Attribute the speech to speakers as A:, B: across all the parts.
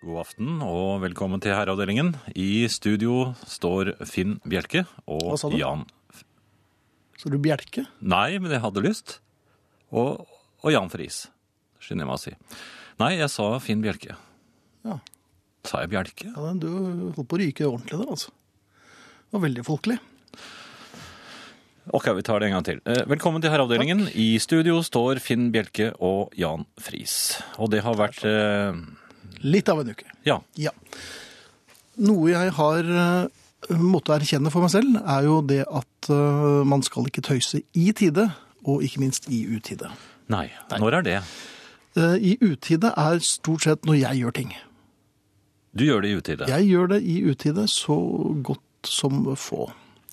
A: God aften og velkommen til Herreavdelingen. I studio står Finn Bjelke og
B: Hva sa du?
A: Jan
B: Så du bjelke?
A: Nei, men jeg hadde lyst. Og, og Jan Friis, skynder jeg meg å si. Nei, jeg sa Finn Bjelke.
B: Ja.
A: Sa jeg Bjelke?
B: Ja, den- du holdt på å ryke ordentlig der, altså. Det var veldig folkelig.
A: Ok, vi tar det en gang til. Eh, Velkommen til Herreavdelingen. I studio står Finn Bjelke og Jan Friis. Og det har vært eh,
B: Litt av en uke.
A: Ja.
B: Ja. Noe jeg har eh, måttet erkjenne for meg selv, er jo det at eh, man skal ikke tøyse i tide, og ikke minst i utide.
A: Nei. Når er det?
B: Eh, I utide er stort sett når jeg gjør ting.
A: Du gjør det i utide.
B: Jeg gjør det i utide så godt som få.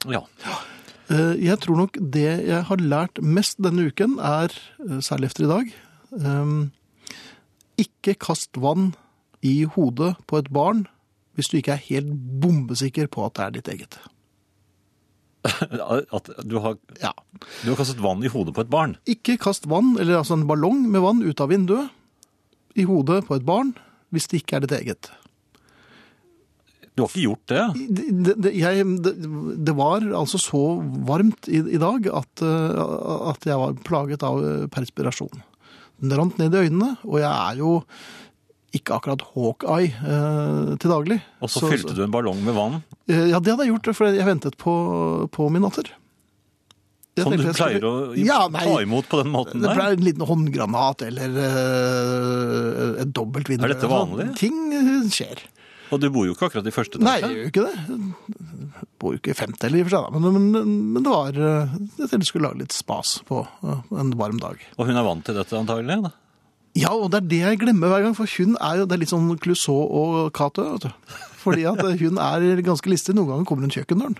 A: Ja.
B: Eh, Jeg tror nok det jeg har lært mest denne uken er, eh, særlig efter i dag, ehm, ikke kast vann i hodet på et barn hvis du ikke er helt bombesikker på at det er ditt eget.
A: At du har,
B: Ja.
A: du har kastet vann i hodet på et barn.
B: Ikke kast vann, eller altså en ballong med vann ut av vinduet i hodet på et barn hvis det ikke er ditt eget.
A: Du har ikke gjort det?
B: det, det, jeg, det, det var altså så varmt i, i dag at, eh, at jeg var plaget av eh, perspirasjon. Den rant ned i øynene, og jeg er jo ikke akkurat Hawkeye eh, til daglig. eh,
A: Og så, fylte du en ballong med vann,
B: Ja, det hadde jeg gjort, for jeg ventet på, på min datter. Jeg
A: som du
B: tenkte jeg skulle-
A: pleier å
B: ja, nei,
A: ta imot på den måten
B: det ble
A: der.
B: en liten håndgranat eller eh, et dobbelt vindu.
A: Er dette vanlig?
B: Ting eh, skjer.
A: Og du bor jo ikke akkurat i første
B: Nei,
A: etasje.
B: jeg gjør jo ikke det. Jeg bor jo ikke i femte heller, i og for seg. da. Men, men, men det var eh, Jeg tenkte jeg skulle lage litt spas på eh, en varm dag.
A: Og hun er vant til dette antagelig. Da.
B: Ja, og det er det jeg glemmer hver gang, for hun er jo det er litt sånn Clouseau og Cato. vet du. Fordi at eh, hun er ganske listig. Noen ganger kommer hun kjøkkendøren.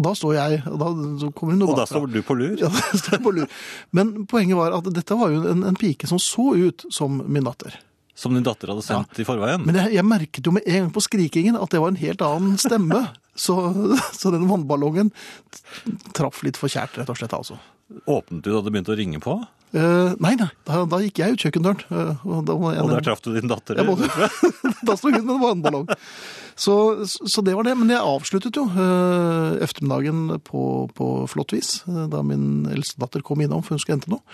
B: Og da står jeg og da så kommer hun noe
A: Og da
B: bakfra.
A: står du på lur.
B: Ja, da står jeg på lur. Men poenget var at dette var jo en, en pike som så ut som min datter.
A: Som din datter hadde sendt i forveien.
B: Men jeg, jeg merket jo med en gang på skrikingen at det var en helt annen stemme. Så, så den vannballongen traff litt for kjært, rett og slett. altså.
A: Åpnet du da det begynte å ringe på?
B: Eh, nei, nei, da, da gikk jeg ut kjøkkendøren. eh, og da, må jeg-
A: Og der traff du din datter?
B: Jeg må-
A: eller?
B: da sto hun med en vannballong. Så, så det var det. Men jeg avsluttet jo eh, ettermiddagen på, på flott vis, eh, da min eldste datter kom innom, for hun skulle hente noe.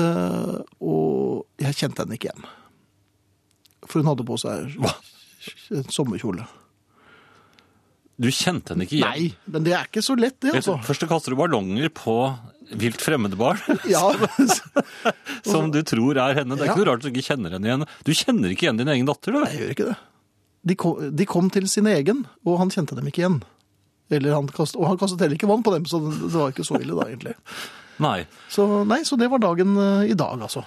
B: Eh, og jeg kjente henne ikke igjen. For hun hadde på seg en sommerkjole.
A: Du kjente henne ikke igjen?
B: Nei, men det er ikke så lett det,
A: Vet du,
B: altså.
A: Først så kaster du ballonger på vilt fremmede barn,
B: Ja,
A: som du tror er henne. Det er
B: Ja.
A: ikke noe rart du ikke kjenner henne igjen. Du kjenner ikke igjen din egen datter,
B: jeg
A: du.
B: gjør ikke det. De kom, de kom til sin egen, og han kjente dem ikke igjen. Eller han kastet, og han kastet heller ikke vann på dem, så det var ikke så ille da, egentlig.
A: Nei.
B: Så, nei, så det var dagen eh, i dag, altså.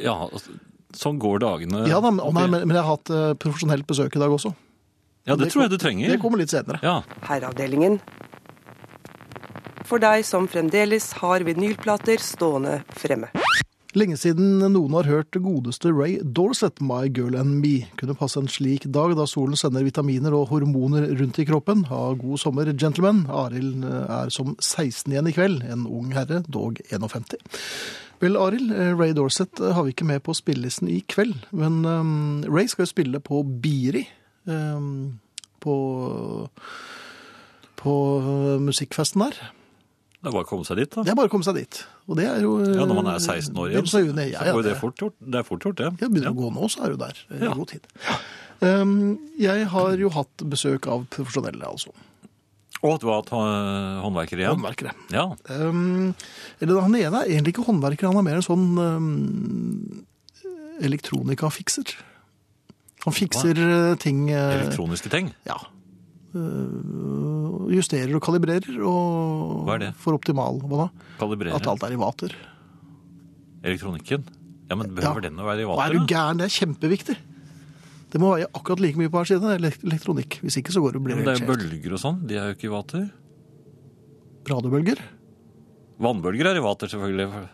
A: Ja, altså, sånn går dagene.
B: Ja da, men, å nei, men men jeg har hatt eh, profesjonelt besøk i dag også.
A: ja det tror jeg du
B: Det
A: trenger.
B: kommer litt senere.
A: Ja.
C: Herreavdelingen. For deg som fremdeles har vinylplater stående fremme.
B: Lenge siden noen har hørt godeste Ray Dorset, My Girl and Me. Kunne passe en slik dag da solen sender vitaminer og hormoner rundt i kroppen. Ha god sommer, gentlemen. Arild eh, er som 16 igjen i kveld. En ung herre, dog 51. Vel, Arild, eh, Ray Dorset eh, har vi ikke med på spillelisten i kveld. Men eh, Ray skal jo spille på Biri. eh, på på eh, musikkfesten der.
A: Det er bare å komme seg dit, da.
B: Det er bare å komme seg dit. Og det er jo eh,
A: Ja, når man er 16 år igjen,
B: begynnelsen av juni. Ja,
A: så
B: ja,
A: går jo det
B: det-
A: fort gjort. Det er fort gjort, det.
B: ja, begynner å gå nå, så er du der eh, i
A: Ja.
B: god tid. Um, jeg har jo hatt besøk av profesjonelle, altså.
A: Og at du har hatt øh, håndverker igjen.
B: Håndverkere.
A: Ja.
B: Um, eller han ene er egentlig ikke håndverker, han er mer en sånn um, elektronikafikser. Han fikser eh, ting eh,
A: Elektroniske ting.
B: Ja. Uh, justerer og kalibrerer og
A: Hva er det?
B: får optimal hva da?
A: Kalibrere.
B: At alt er i vater.
A: Elektronikken. Ja, men behøver
B: Ja.
A: den å være i
B: Hva er du
A: vater? da?
B: gæren? Det er kjempeviktig. Det må veie akkurat like mye på hver side, elek- elektronikk. Hvis ikke så går det og
A: Ja,
B: blir
A: men
B: det
A: det er jo
B: helt skjevt.
A: bølger og sånn. De er jo ikke i vater.
B: Radiobølger?
A: Vannbølger er i vater, selvfølgelig.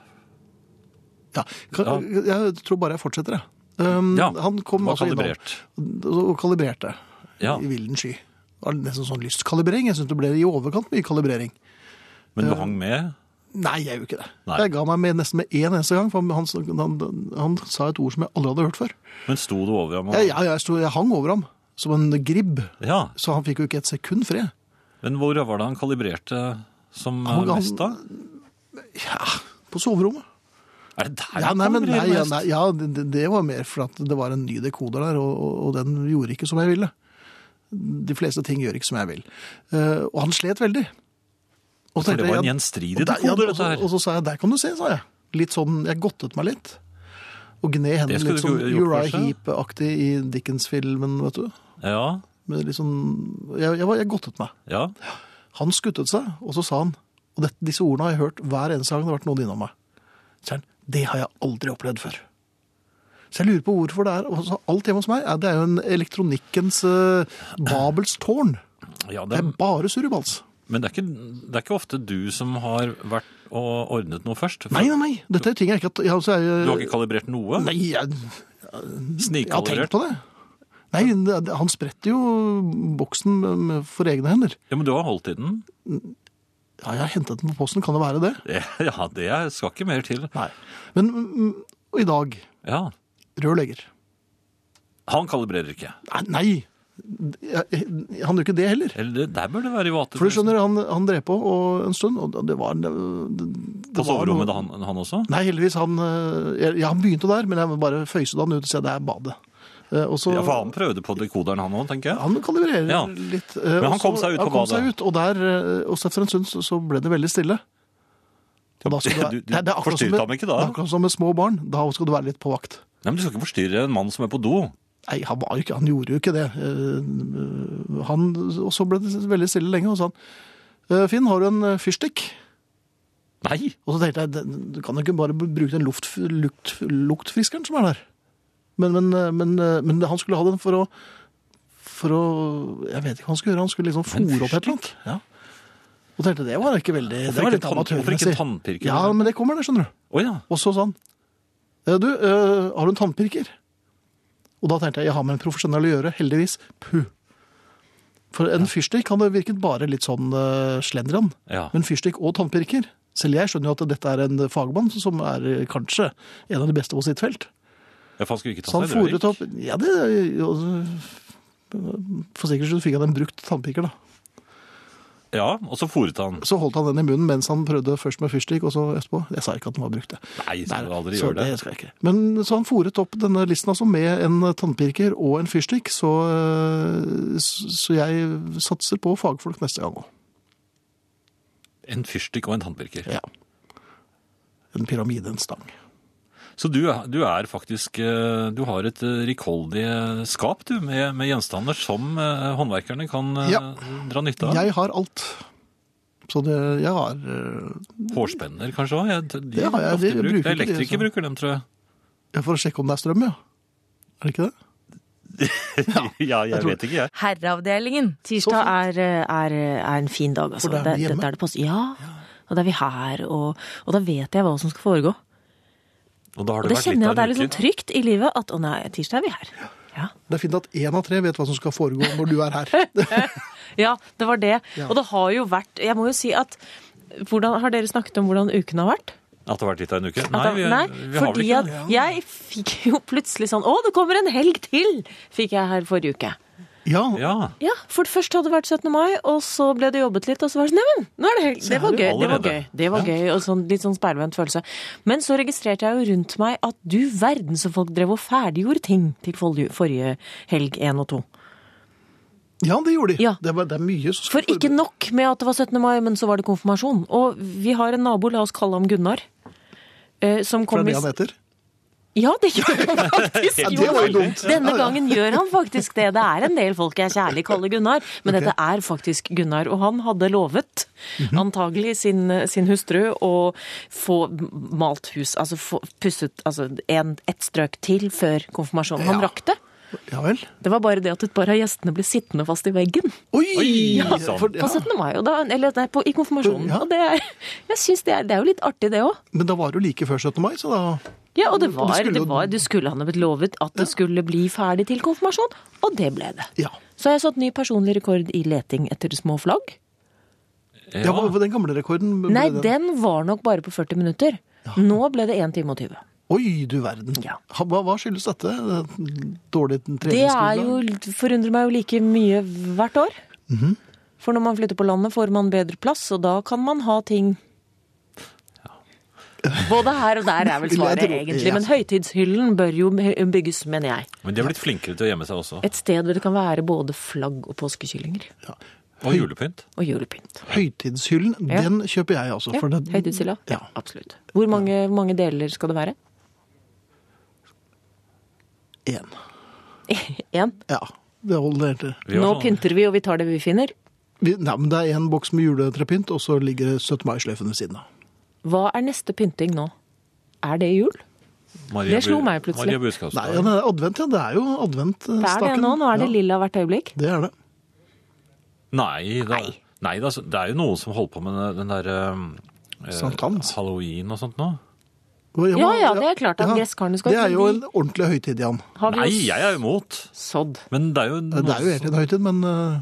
B: Ja. Kan, Jeg tror bare jeg fortsetter, jeg. Um,
A: Ja,
B: han kom
A: var
B: altså innom
A: kalibrert.
B: og kalibrerte
A: Ja.
B: i villen sky. Det var nesten sånn lystkalibrering. Jeg syns det ble i overkant mye kalibrering.
A: Men du hang med.
B: Nei, jeg gjør ikke det.
A: Nei.
B: Jeg ga meg med nesten med én eneste gang, for han, han, han sa et ord som jeg aldri hadde hørt før.
A: Men sto du over ham? og-
B: Jeg, jeg, jeg, sto, jeg hang over ham som en gribb,
A: Ja.
B: så han fikk jo ikke et sekund fred.
A: Men hvor var det han kalibrerte som
B: Han-
A: eh,
B: han-
A: mest, da?
B: På soverommet.
A: Er det der
B: Ja,
A: han
B: nei, men, nei,
A: kalibrerer
B: ja,
A: mest?
B: nei, ja det, det var mer for at det var en ny dekoder der, og, og, og den gjorde ikke som jeg ville. De fleste ting gjør ikke som jeg vil. Eh, og han slet veldig. Og
A: For det var en
B: jeg-
A: gjenstridig
B: og der- ja,
A: dekoder,
B: og så-
A: dette her.
B: Og så sa jeg, der kan du se, sa jeg. Litt sånn, jeg gottet meg litt. Og gned hendene
A: skulle
B: litt
A: du
B: sånn
A: gjort,
B: Uriah
A: kanskje?
B: Heep-aktig i Dickens-filmen, vet du.
A: Ja,
B: Med litt sånn, jeg, jeg, var- jeg gottet meg.
A: ja.
B: Han skuttet seg, og så sa han, og dette, disse ordene har jeg hørt hver eneste gang det har vært noen innom meg. Så sier han, det har jeg aldri opplevd før. Så jeg lurer på hvorfor det er, og så alt hjemme hos meg, er, det er jo en elektronikkens eh, Babels tårn.
A: ja
B: Det
A: det,
B: er bare surrebals.
A: men det er, ikke, det er ikke ofte du som har vært og ordnet noe først. For
B: Nei, nei, nei, dette er ting jeg ikke... har- Jeg, altså, jeg,
A: Du har ikke kalibrert noe?
B: Nei, jeg, jeg har tenkt
A: Snikkalibrert?
B: på det. Nei, det- det- han spretter jo boksen med- med- for egne hender.
A: Ja, men du har holdt i den?
B: Ja, jeg har hentet den på posten, kan det være det?
A: Ja, det er- skal ikke mer til.
B: Nei. Men mm, og i dag,
A: Ja.
B: rørlegger.
A: Han kalibrerer ikke.
B: Nei, nei. Jeg- jeg- Han gjør ikke det heller.
A: Eller det- der bør det være i vater.
B: For du skjønner, han, han drev på og en stund, og det var det, det
A: På
B: var
A: soverommet
B: noe-
A: da, han, han også?
B: Nei, heldigvis. Han, eh, ja, han begynte der, men jeg må bare føyse han ut og si at det er badet. Eh, Og så,
A: Ja, for han prøvde på dekoderen han òg, tenker jeg.
B: han kalibrerer
A: Ja.
B: litt. eh,
A: Men
B: og
A: han
B: så-
A: kom seg ut
B: han
A: på
B: kom
A: badet.
B: Seg ut, og der, eh, også etter en stund så, så ble det veldig stille. Og da skal
A: Du-
B: være-
A: du
B: akkurat som
A: forstyrret
B: med-
A: ham ikke da?
B: Det er akkurat som med små barn. Da skal du være litt på vakt.
A: Nei, men Du skal ikke forstyrre en mann som er på do.
B: Nei, han, var jo ikke, han gjorde jo ikke det. Eh, Han, og så ble det veldig stille lenge, og så sa han «Eh, Finn, har du en eh, fyrstikk?
A: Nei!
B: Og så tenkte jeg, «Den- du kan jo ikke bare bruke den luft, lukt, luktfriskeren som er der. Men, men, eh, men, eh, men han skulle ha den for å, for å Jeg vet ikke hva han skulle gjøre, han skulle liksom fòre opp et eller annet. Ja. Og tenkte det var ikke veldig
A: Hvorfor ikke
B: det
A: en tann-
B: var litt
A: hvorfor ikke en
B: amatørmessig.
A: tannpirker?
B: Ja, men det kommer, det, skjønner du.
A: Å ja.
B: Og så sa han «Eh, Du, eh, har du en tannpirker? Og da tenkte jeg jeg har med en profesjonell å gjøre, heldigvis. Puh. For en fyrstikk kan det virket bare litt sånn eh, slendrian.
A: ja.
B: Men fyrstikk og tannpirker Selv jeg skjønner jo at dette er en fagmann som er eh, kanskje en av de beste på sitt felt.
A: Ja, for han skulle ikke ta
B: Så han
A: seg en
B: fòret
A: røyk.
B: opp Ja, det jo, altså, For sikkert så fikk han en brukt tannpirker, da.
A: Ja, og så fòret han.
B: Så holdt han den i munnen mens han prøvde først med fyrstikk, og så etterpå. Jeg sa ikke at den var brukt, jeg.
A: Nei,
B: Nei,
A: skal du aldri
B: så
A: gjøre det.
B: det skal jeg ikke. Men så han fòret opp denne listen altså med en tannpirker og en fyrstikk, så, øh, s- så jeg satser på fagfolk neste gang òg.
A: En fyrstikk og en tannpirker.
B: Ja. En pyramide, en stang.
A: Så du, er- du er faktisk eh, Du har et eh, rikholdig eh, skap, du, med, med gjenstander som eh, håndverkerne kan eh,
B: Ja.
A: dra nytte av.
B: Jeg har alt. Så det, jeg har øh,
A: Hårspenner kanskje òg?
B: Det har jeg, de bruker ikke de,
A: Elektrikere
B: så.
A: bruker dem, tror jeg.
B: ja, For å sjekke om det er strøm, ja. Er det ikke det?
A: Ja, jeg
B: tror-
A: vet ikke, jeg.
D: Herreavdelingen.
B: Så
E: Tirsdag er, eh, er, er en fin dag, altså.
B: For da er vi
E: Det-
B: hjemme.
E: Dette er det på, ja, og da er vi her, og, og da vet jeg hva som skal foregå.
A: Og da har det
E: Og
A: vært
E: det
A: litt
E: kjenner
A: av
E: jeg at det er
A: en
E: litt sånn
A: uke.
E: trygt i livet at å nei, tirsdag er vi her. Ja,
B: Det er fint at én av tre vet hva som skal foregå når du er her.
E: ja det var det.
B: Ja.
E: Og det har jo vært Jeg må jo si at hvordan, Har dere snakket om hvordan uken har vært?
A: At det har vært litt av en uke? Nei,
E: At
A: vi,
E: det- nei
A: vi har vel
E: fordi
A: ikke
E: at jeg fikk jo plutselig sånn Å, det kommer en helg til! Fikk jeg her forrige uke.
B: Ja,
A: det. Ja,
E: Ja, for først hadde det vært 17. mai, og så ble det jobbet litt, og så var det sånn, neimen, nå er det helg.
B: Se
E: Det var
B: her,
E: gøy, det var
A: allerede.
E: gøy. Det var gøy, og sånn, litt sånn speilvendt følelse. Men så registrerte jeg jo rundt meg at du verden så folk drev og ferdiggjorde ting til forrige- forrige helg 1 og 2.
B: ja det gjorde de.
E: Ja.
B: Det, var, det er mye som
E: For
B: skal
E: ikke nok med at det var 17. mai, men så var det konfirmasjon. Og vi har en nabo, la oss kalle ham Gunnar. eh, Som
B: For
E: kom
B: det
E: i
B: er det han heter.
E: Ja, det gjør han faktisk!
B: Ja, det var jo dumt.
E: Denne
B: Ja, ja.
E: gangen gjør han faktisk det. Det er en del folk jeg kjærlig kaller Gunnar, men dette er faktisk Gunnar. Og han hadde lovet,
B: Mhm.
E: antagelig sin, sin hustru, å få malt hus, altså få pusset altså en, et strøk til før konfirmasjonen. Han
B: Ja.
E: rakk det.
B: Ja vel.
E: Det var bare det at et par av gjestene ble sittende fast i veggen
B: Oi!
A: Oi,
B: ja,
A: sant.
B: for, ja.
E: på 17. mai, og da, eller nei, på, i konfirmasjonen.
B: Ja.
E: Og det er, jeg synes det, er, det er jo litt artig, det òg.
B: Men da var det jo like før 17. mai, så da
E: Ja, og det
B: Og
E: var,
B: det skulle
E: det
B: jo-
E: var, du skulle han ha blitt lovet at det skulle bli ferdig til konfirmasjon, og det ble det.
B: Ja.
E: Så har jeg satt ny personlig rekord i leting etter små flagg.
A: Ja.
B: Ja, hva- den gamle rekorden ble
E: Nei,
B: den-
E: den var nok bare på 40 minutter. Nå ble det 1 time og 20.
B: Oi, du verden.
E: Ja.
B: Ha- Hva, hva skyldes dette? Dårlig
E: Det er jo,
B: treningsgrunnlag?
E: forundrer meg jo like mye hvert år. For når man flytter på landet, får man bedre plass, og da kan man ha ting Både her og der er vel svaret,
B: Jeg tror-
E: egentlig.
B: ja.
E: Men høytidshyllen bør jo bygges, mener jeg.
A: Men de er blitt flinkere til å gjemme seg også.
E: Et sted hvor det kan være både flagg og påskekyllinger.
A: Og julepynt.
E: Og julepynt.
B: Høytidshyllen,
E: Ja.
B: den kjøper jeg altså.
E: Ja,
B: for den-
E: Høytidshylla.
B: Ja.
E: Ja, absolutt. Hvor mange, hvor mange deler skal det være?
B: En.
E: Én.
B: Ja, det holder helt til.
A: Vi
E: Nå
A: har sånn-
E: pynter vi, og vi tar det vi finner.
B: Vi- Nei, men det er en boks med juletrepynt, og så ligger 17. mai-sløyfen ved siden av.
E: Hva er neste pynting nå? Er det jul?
A: Maria
E: Det slo
A: Bu-
E: meg plutselig.
A: Maria
B: Nei,
A: Buskadsdag.
B: ja, det er advent, ja. Det er jo adventstaken.
E: Det er det nå. Nå er det
B: Ja,
E: lilla hvert øyeblikk.
B: det er det.
A: Nei, da, nei da, så- det er jo noen som holder på med den- den derre
B: Sankthans.
A: Halloween og sånt nå.
E: Ja, ja, det er klart at gresskarene skal
B: Det er
E: til
B: jo
E: de-
B: en ordentlig høytid, Jan.
E: Har vi
A: Nei,
E: jo
A: jeg er imot.
E: sådd.
A: Men det er jo,
B: Det er jo egentlig en høytid, men eh,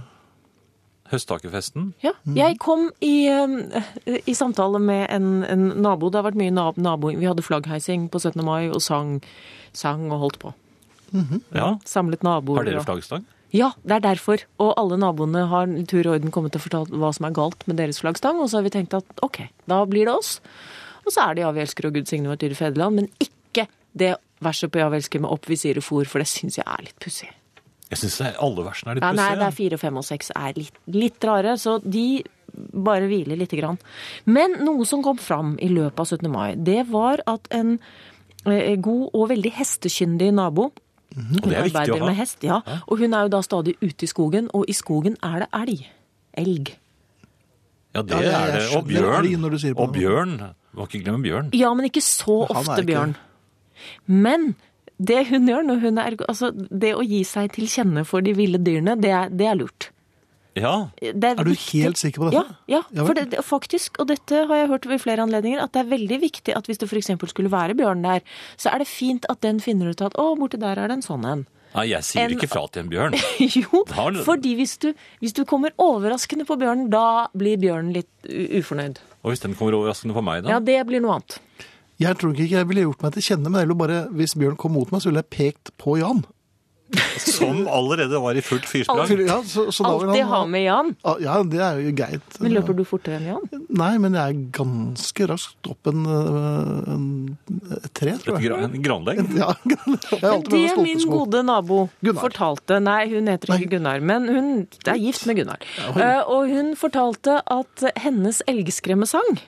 A: høsttakerfesten.
E: Ja. Jeg kom i, eh, i samtale med en, en nabo. Det har vært mye nab nabo. Vi hadde flaggheising på 17. mai og sang, sang og holdt på.
A: Ja.
E: Samlet naboer.
A: Har dere
E: og-
A: flaggstang?
E: Ja, det er derfor. Og alle naboene har i tur og orden kommet og fortalt hva som er galt med deres flaggstang, og så har vi tenkt at ok, da blir det oss. Og så er det Ja, vi elsker og Gud signe vårt dyre fedreland, men ikke det verset på Ja, vi elsker med opp visir og fôr, for det syns jeg er litt pussig.
A: Jeg syns alle versene er litt
E: Ja, nei, det
A: pussige.
E: er fire, fem og seks er litt, litt rare, så de bare hviler lite grann. Men noe som kom fram i løpet av 17. mai, det var at en eh, god og veldig hestekyndig nabo
A: Og det er
E: hun
A: viktig å
E: arbeider
A: ha.
E: med hest, ja. Og hun er jo da stadig ute i skogen, og i skogen er det elg. Elg.
A: Ja, det
B: Ja, jeg-
A: er
B: jeg
A: det. Og
B: skjønner
A: bjørn.
B: det når du sier det på
A: Og
B: den
A: bjørn. Må ikke glemme bjørn.
E: Ja, men ikke så
B: Men han er
E: ofte,
B: ikke-
E: Bjørn. Men det hun gjør når hun er Altså, det å gi seg til kjenne for de ville dyrene, det er, det er lurt.
A: Ja.
E: Det
B: Er du
E: viktig-
B: helt sikker på dette?
E: Ja,
B: Ja
E: ja
B: vel.
E: for det, det- faktisk, og dette har jeg hørt ved flere anledninger, at det er veldig viktig at hvis det f.eks. skulle være bjørn der, så er det fint at den finner ut at å, borti der er det en sånn en.
A: Nei, jeg sier
E: En-
A: ikke fra til en bjørn.
E: Jo,
A: Da har du-
E: fordi hvis du, hvis du kommer overraskende på bjørnen, da blir bjørnen litt u- ufornøyd.
A: Og hvis den kommer overraskende på meg, da?
E: Ja, det blir noe annet.
B: Jeg tror ikke jeg ville gjort meg til kjenne, men jeg ville bare, hvis Bjørn kom mot meg, så ville jeg pekt på Jan.
A: Som allerede var i fullt
B: For-
A: fyrslag.
B: Ja, så, så da vil
E: Alltid
B: han-
E: ha med Jan.
B: Ah, Ja, det er jo greit.
E: Men løper du fortere enn Jan?
B: Nei, men jeg er ganske raskt opp en, øh, en et tre, tror
A: Et
B: jeg.
A: gra- En granlegg.
B: Ja, jeg har
E: Men
B: alltid vært
E: det
B: stolpe
E: min
B: sko.
E: gode nabo
B: Gunnar.
E: fortalte Nei, hun heter ikke Gunnar, men hun er gift med Gunnar. Eh, Og hun fortalte at hennes elgskremmesang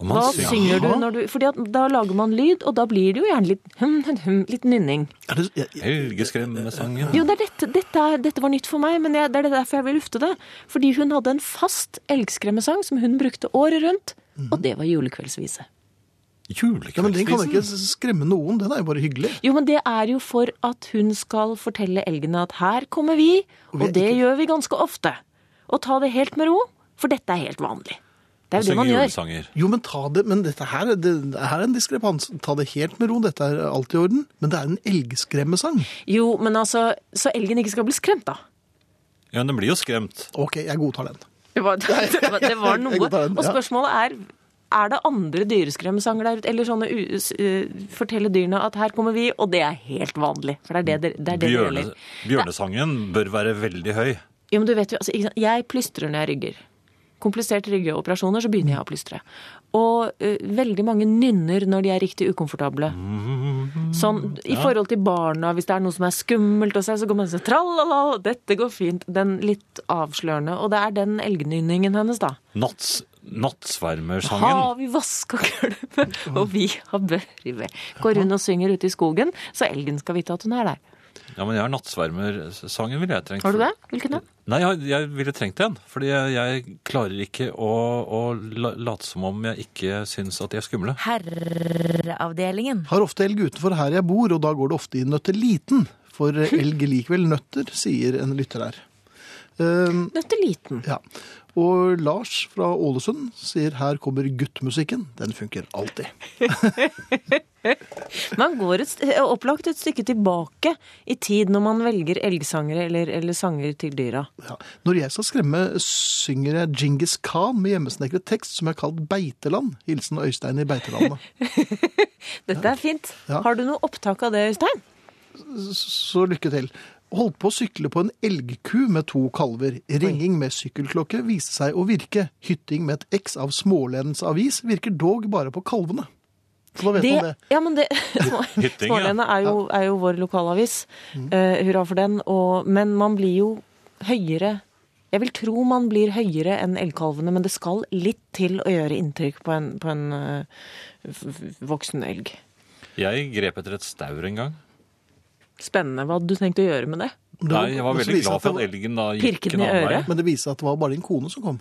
A: Og
E: Hva
A: man synger.
E: synger du
B: Jaha.
E: når du Fordi at da lager man lyd, og da blir det jo gjerne litt, hum, hum, hum, litt nynning.
B: Er det, jeg, jeg,
A: Helgeskremmesangen.
E: Jo, det er dette, dette, er, dette var nytt for meg, men jeg, det er derfor jeg vil lufte det. Fordi hun hadde en fast elgskremmesang som hun brukte året rundt,
B: Mhm.
E: og det var julekveldsvise.
B: ja, men den kan
A: Julekveldsvisen.
B: ikke skremme noen, den er jo bare hyggelig.
E: Jo, men det er jo for at hun skal fortelle elgene at her kommer vi,
B: vi er
E: og det
B: ikke-
E: gjør vi ganske ofte. Og ta det helt med ro, for dette er helt vanlig. Det er jo det man
A: Synger
E: gjør.
A: julesanger.
B: Jo, men ta det, men dette her, det, her er en diskrepans. Ta det helt med ro, dette er alt i orden. Men det er en elgskremmesang.
E: Jo, men altså, så elgen ikke skal bli skremt, da.
A: Ja, men den blir jo skremt.
B: Ok, jeg godtar den.
E: Det var, det var, det var
B: Jeg
E: noe.
B: godtar den,
E: Og
B: ja.
E: spørsmålet er er det andre dyreskremmesanger der ute, eller sånne u- s- eh, fortelle dyrene at her kommer vi, og det er helt vanlig? For det er det det, det, er det, det
A: Bjørne,
E: gjelder.
A: bjørnesangen bør være veldig høy.
E: Jo, men du vet jo, altså, ikke sant? Jeg plystrer når jeg rygger. Kompliserte ryggeoperasjoner, så begynner jeg å plystre. Og eh, veldig mange nynner når de er riktig ukomfortable. Sånn i forhold til barna, hvis det er noe som er skummelt og seg, så går man sånn tralala, dette går fint. Den litt avslørende. Og det er den elgnynningen hennes, da.
A: Natts, nattsvermersangen.
E: Har vi vaska gulvet, og vi har børive. Går rundt og synger ute i skogen, så elgen skal vite at hun er der.
A: Ja, men jeg har nattsvermersangen ville jeg trengt.
E: Har du det? Hvilken da?
A: Nei, jeg, jeg ville trengt en. Fordi jeg, jeg klarer ikke å, å la- late som om jeg ikke syns at de er skumle.
D: Herreavdelingen.
B: Har ofte elg utenfor her eh, jeg bor, og da går det ofte i nøtteliten. For elg likevel nøtter, sier en lytter her. Eh,
E: Nøtteliten.
B: ja. Og Lars fra Ålesund sier her kommer guttmusikken. Den funker alltid.
E: Man går et, st- opplagt et stykke tilbake i tid når man velger elgsangere eller, eller sanger til dyra.
B: Ja. Når jeg skal skremme, synger jeg Genghis Khan med hjemmesnekret tekst som jeg har kalt Beiteland. Hilsen Øystein i Beitelandet.
E: Dette er fint.
B: Ja.
E: Har du noe opptak av det, Øystein?
B: Så lykke til. Holdt på å sykle på en elgku med to kalver. Ringing med sykkelklokke viste seg å virke. Hytting med et X av smålensavis virker dog bare på kalvene. Så da vet man det.
E: ja, men det
A: Hytting, ja.
E: Smålene er, jo- er jo vår lokalavis.
B: Mm.
E: Eh, hurra for den. Og, men man blir jo høyere Jeg vil tro man blir høyere enn elgkalvene, men det skal litt til å gjøre inntrykk på en, på en eh, f- f- voksen elg.
A: Jeg grep etter et staur en gang.
E: Spennende. Hva hadde du tenkt å gjøre med det?
B: var-
A: Nei, jeg var
B: men så
A: veldig
B: viser
A: glad
B: det seg
A: for at
B: at det
A: elgen da gikk
E: Pirket
A: en
E: den i
A: annen vei.
E: øret?
B: Men det viste seg at det var bare din kone som kom.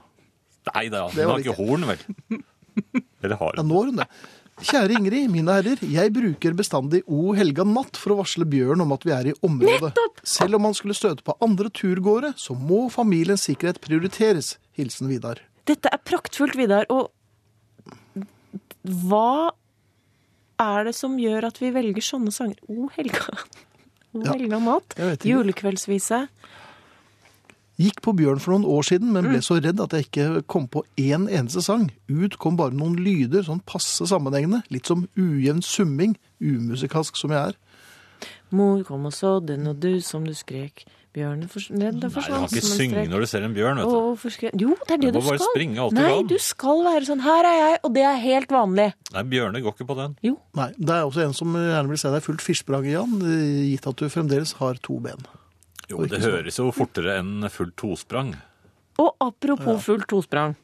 A: Nei da,
B: Det
A: den har
B: var det
A: ikke
B: ikke.
A: horn, vel. Eller har
B: Ja,
A: den?
B: nå har hun det. Kjære Ingrid, mine herrer. Jeg bruker bestandig O helga natt for å varsle bjørn om at vi er i området. Selv om man skulle støte på andre turgåere, så må familiens sikkerhet prioriteres. Hilsen Vidar.
E: Dette er praktfullt, Vidar. Og hva er det som gjør at vi velger sånne sanger? O helga. O
B: Ja,
E: helga natt.
B: jeg vet ikke.
E: Julekveldsvise.
B: Gikk på bjørn for noen år siden, men
A: Mm.
B: ble så redd at jeg ikke kom på én eneste sang. Ut kom bare noen lyder, sånn passe sammenhengende. Litt som ujevn summing, umusikalsk som jeg er.
E: Mor kom og så den, og du som du skrek. Bjørnen fors redd
A: Nei,
E: og
A: du
E: forsvant
A: kan ikke
E: som en
A: synge
E: strek.
A: når du ser en bjørn, vet du.
E: Hvorfor skre- Jo, det er
A: Du
E: det du,
A: må bare
E: skal.
A: springe alt du
E: Nei,
A: kan.
E: du skal være sånn. Her er jeg, og det er helt vanlig.
A: Nei, bjørne går ikke på den.
E: Jo.
B: Nei, Det er også en som gjerne vil se deg fullt firsprang, Jan, eh, gitt at du fremdeles har to ben.
A: Jo, det høres jo fortere enn fullt tosprang.
E: Og apropos fullt tosprang,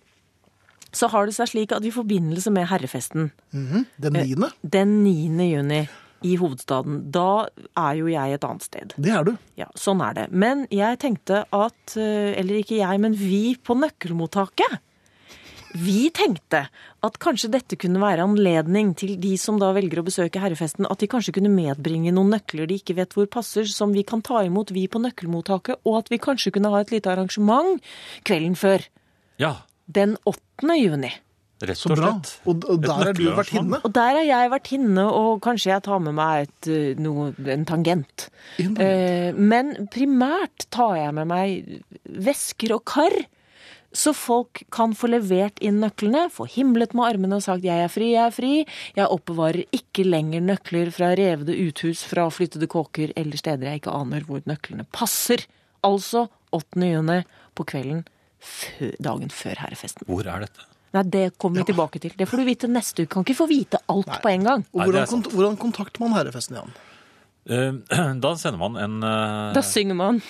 E: så har det seg slik at i forbindelse med herrefesten
A: Eh.
B: Den niende,
E: den 9. juni i hovedstaden, da er jo jeg et annet sted.
B: det er du.
E: Ja, sånn er det. Men jeg tenkte at, eh, eller ikke jeg, men vi på nøkkelmottaket, vi tenkte at kanskje dette kunne være anledning til de som da velger å besøke herrefesten, at de kanskje kunne medbringe noen nøkler de ikke vet hvor passer, som vi kan ta imot vi på nøkkelmottaket, og at vi kanskje kunne ha et lite arrangement kvelden før,
A: Ja,
E: den 8. juni.
A: rett
B: Så
A: og
B: bra.
A: slett.
B: Og, og
A: Et
B: der er du
A: nøkkelarrangement.
B: vertinne.
E: Og der har jeg vært inne, og kanskje jeg tar med meg et, eh, noe, en tangent.
A: altså.
B: En tangent.
E: Eh, men primært tar jeg med meg vesker og kar, så folk kan få levert inn nøklene, få himlet med armene og sagt 'jeg er fri, jeg er fri', jeg oppbevarer ikke lenger nøkler fra revede uthus, fra flyttede kåker eller steder jeg ikke aner hvor nøklene passer. Altså 8. juni på kvelden fø- dagen før herrefesten.
A: Hvor er dette?
E: Nei, det kommer vi tilbake til. Det får du vite neste uke. Kan ikke få vite alt på en gang.
B: Og
A: Nei, det
B: hvordan,
A: er sant.
B: kont hvordan kontakter man herrefesten, Jan?
A: Eh, Da sender man en eh,
E: Da synger man.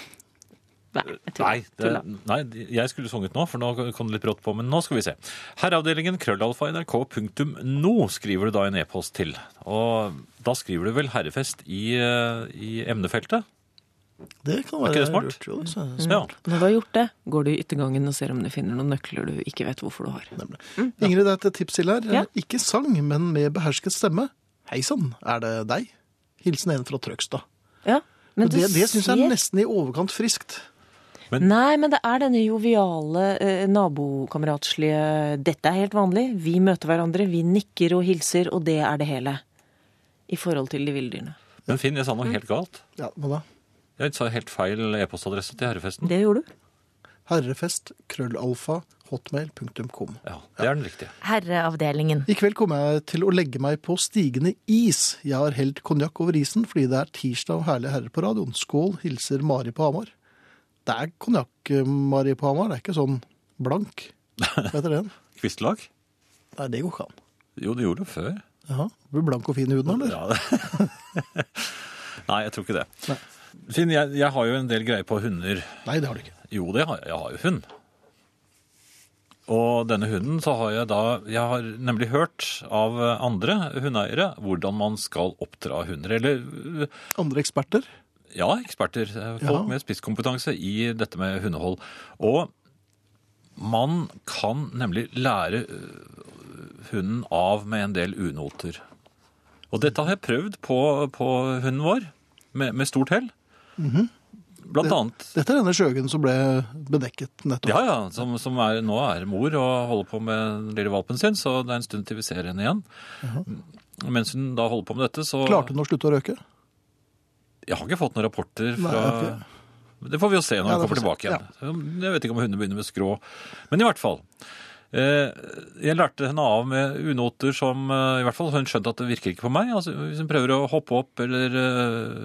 E: Nei, jeg tuller.
A: Nei, det,
E: Tuller.
A: nei, jeg skulle sunget nå, for nå kom det litt brått på, men nå skal vi se. Herreavdelingen krøllalfa nrk.no skriver du da en e-post til. Og da skriver du vel herrefest i, eh, i emnefeltet?
B: Det kan være
A: ikke det smart?
B: lurt. Jo, det er
A: Ja.
E: Når du har gjort det, går du i yttergangen og ser om du finner noen nøkler du ikke vet hvorfor du har.
B: Nemlig. Ingrid, det er et tips til her.
E: Mm. Ja.
B: Ikke sang, men med behersket stemme. Hei sann, er det deg? Hilsen en fra Trøgstad.
E: Ja, men
B: Og Det, det syns jeg
E: ser-
B: er nesten i overkant friskt.
E: Nei, men det er denne joviale, eh, nabokameratslige Dette er helt vanlig. Vi møter hverandre, vi nikker og hilser, og det er det hele. I forhold til de villdyrene.
A: Men Finn, jeg sa noe helt galt.
B: Ja, hva da?
A: Jeg sa helt feil e-postadresse til herrefesten.
E: Det gjorde du.
B: Herrefest, krøllalfa, hotmail.com.
A: Ja, det er den riktige.
D: Herreavdelingen.
B: I kveld kommer jeg til å legge meg på stigende is. Jeg har helt konjakk over isen fordi det er tirsdag og herlige herrer på radioen. Skål, hilser Mari på Hamar. Det er konjakk, eh, Mari på Hamar. Det er ikke sånn blank. Hva heter den?
A: Kvistlag?
B: Nei, det går ikke an.
A: Jo, det gjorde det før.
B: Jaha, Blir blank og fin i huden, eller?
A: Ja, det. Nei, jeg tror ikke det. Finn, jeg, jeg har jo en del greie på hunder.
B: Nei, det har du ikke.
A: Jo, det har jeg. Jeg har jo hund. Og denne hunden så har jeg da Jeg har nemlig hørt av andre hundeeiere hvordan man skal oppdra hunder. Eller
B: Andre eksperter?
A: ja, eksperter. eh, Folk
B: Ja.
A: med spisskompetanse i dette med hundehold. Og man kan nemlig lære øh, hunden av med en del unoter. Og dette har jeg prøvd på, på hunden vår, med, med stort hell. Blant annet.
B: Dette er denne Sjøgen som ble bedekket nettopp.
A: Ja, ja. Som, som er, nå er mor og holder på med den lille valpen sin, så det er en stund til vi ser henne igjen. Mens hun da holder på med dette, så
B: Klarte hun å slutte å røyke?
A: Jeg har ikke fått noen rapporter fra
B: Nei, ok.
A: Det får vi jo se når
B: Ja,
A: hun
B: det
A: kommer
B: får vi
A: tilbake igjen. Jeg vet ikke om hundene begynner med skrå. Men i hvert fall. Eh, jeg lærte henne av med unoter som eh, i hvert fall hun skjønte at det virker ikke på meg. Altså, hvis hun prøver å hoppe opp eller eh,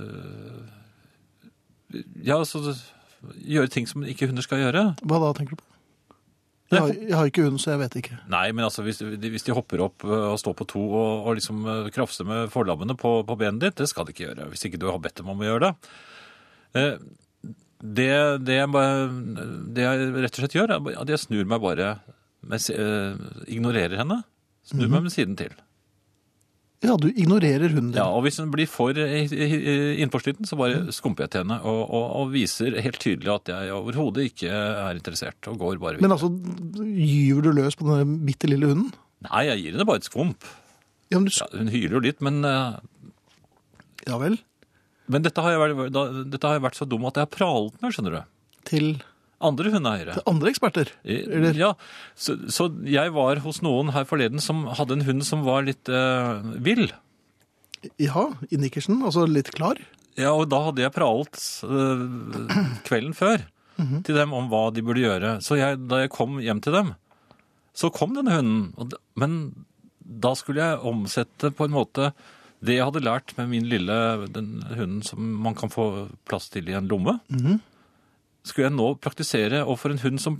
A: Ja, altså Gjøre ting som ikke hunder skal gjøre.
B: Hva da, tenker du på? Jeg har, jeg har ikke hund, så jeg vet ikke.
A: Nei, men altså, hvis, de- hvis de hopper opp ø, og står på to og, og liksom ø, krafser med forlammene på, på benet ditt, det skal de ikke gjøre. Hvis ikke du har bedt dem om å gjøre det. Eh, Det, det, jeg, bare- det jeg rett og slett gjør, er at jeg snur meg bare med, si- ø, Ignorerer henne. Snur meg med siden til.
B: Ja, du ignorerer hunden din.
A: Ja, Og hvis hun blir for i- i- i- innpåsliten, så bare skumper jeg til henne og, og, og viser helt tydelig at jeg overhodet ikke er interessert, og går bare
B: Men
A: videre.
B: altså, gyver du løs på denne bitte lille hunden?
A: Nei, jeg gir henne bare et skvump.
B: Ja, men du,
A: Ja, hun hyler jo litt, men eh, ø,
B: ja vel.
A: Men dette har, jeg vært, da, dette har jeg vært så dum at jeg har pralet med, skjønner du.
B: Til
A: Andre hundeeiere. Eh,
B: andre eksperter? Eller
A: Ja, så, så jeg var hos noen her forleden som hadde en hund som var litt eh, vill.
B: ja, i nikkersen? Altså litt klar?
A: Ja, og da hadde jeg pralet eh, kvelden før til dem om hva de burde gjøre. Så jeg, da jeg kom hjem til dem, så kom denne hunden. Og, d- men da skulle jeg omsette på en måte det jeg hadde lært med min lille den hunden som man kan få plass til i en lomme. Skulle jeg nå praktisere overfor en hund som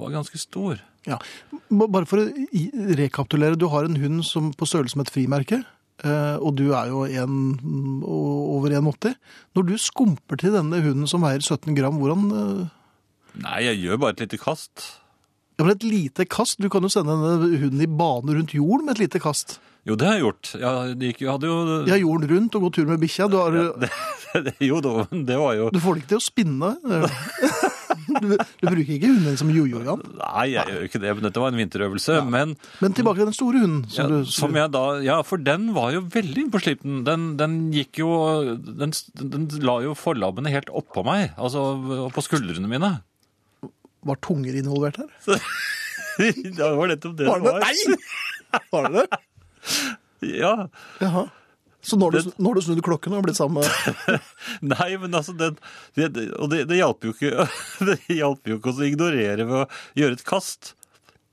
A: var ganske stor.
B: Ja. B- Bare for å i- rekapitulere. Du har en hund som på størrelse med et frimerke. eh, Og du er jo en, mm, o- over 1,80. Når du skumper til denne hunden som veier 17 gram, hvordan eh,
A: Nei, jeg gjør bare et lite kast.
B: Ja, men Et lite kast? Du kan jo sende denne hunden i bane rundt jorden med et lite kast.
A: Jo, det har jeg gjort. Jeg, det gikk, jeg hadde jo
B: Ja, jorden rundt og gå tur med bikkja. Du, har,
A: Jo, da, men det var jo
B: du får det ikke til å spinne. eh. Du, du bruker ikke hunden din som jojo, Jan.
A: Nei, jeg gjør jo ikke det. men Dette var en vinterøvelse. Men
B: Men tilbake til den store hunden. Som
A: ja,
B: du,
A: som jeg da, ja, for den var jo veldig innpåsliten. Den, den gikk jo den, den la jo forlabbene helt oppå meg, altså på skuldrene mine.
B: Var tunger involvert her?
A: det var nettopp det
B: Var det det? Nei! Var det det?
A: Ja.
B: Jaha. Så nå har du, nå har du snudd klokken og har blitt sammen med
A: Nei, men altså den det, det- Og det, det hjalp jo ikke Det hjalp jo ikke å ignorere ved å gjøre et kast.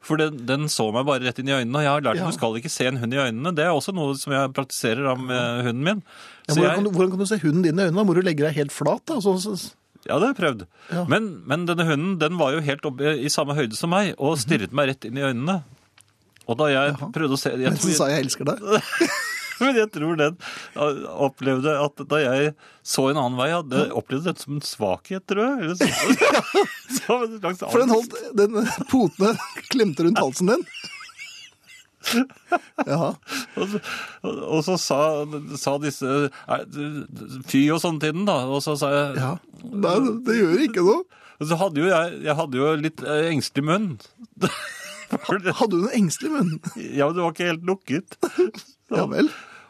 A: For den, den så meg bare rett inn i øynene, og jeg har lært at
B: Ja.
A: du skal ikke se en hund i øynene. Det er også noe som jeg praktiserer av med hunden min.
B: ja,
A: Så
B: hvordan,
A: jeg-
B: kan du, hvordan kan du se hunden din i øynene? Da må du legge deg helt flat. Da. Så, så,
A: Ja, det har jeg prøvd.
B: Ja.
A: Men, men denne hunden den var jo helt oppe i samme høyde som meg og stirret meg rett inn i øynene. Og da jeg prøvde å se jeg
B: mens du sa
A: tror,
B: 'jeg elsker deg'.
A: Men jeg tror den uh, opplevde at da jeg så en annen vei, hadde opplevd dette som en svakhet, tror jeg. Eller så, som en slags
B: For den
A: angst.
B: holdt den potene klemte rundt halsen din. Ja.
A: Og så, og og så sa, sa disse er- Fy og sånn til den, da. Og så sa jeg
B: ja. Nei, det gjør ikke noe.
A: Og så hadde jo jeg, jeg hadde jo litt eh, engstelig munn. For det-
B: Hadde hun en engstelig munn?
A: Ja, men det var ikke helt lukket.
B: Ja vel.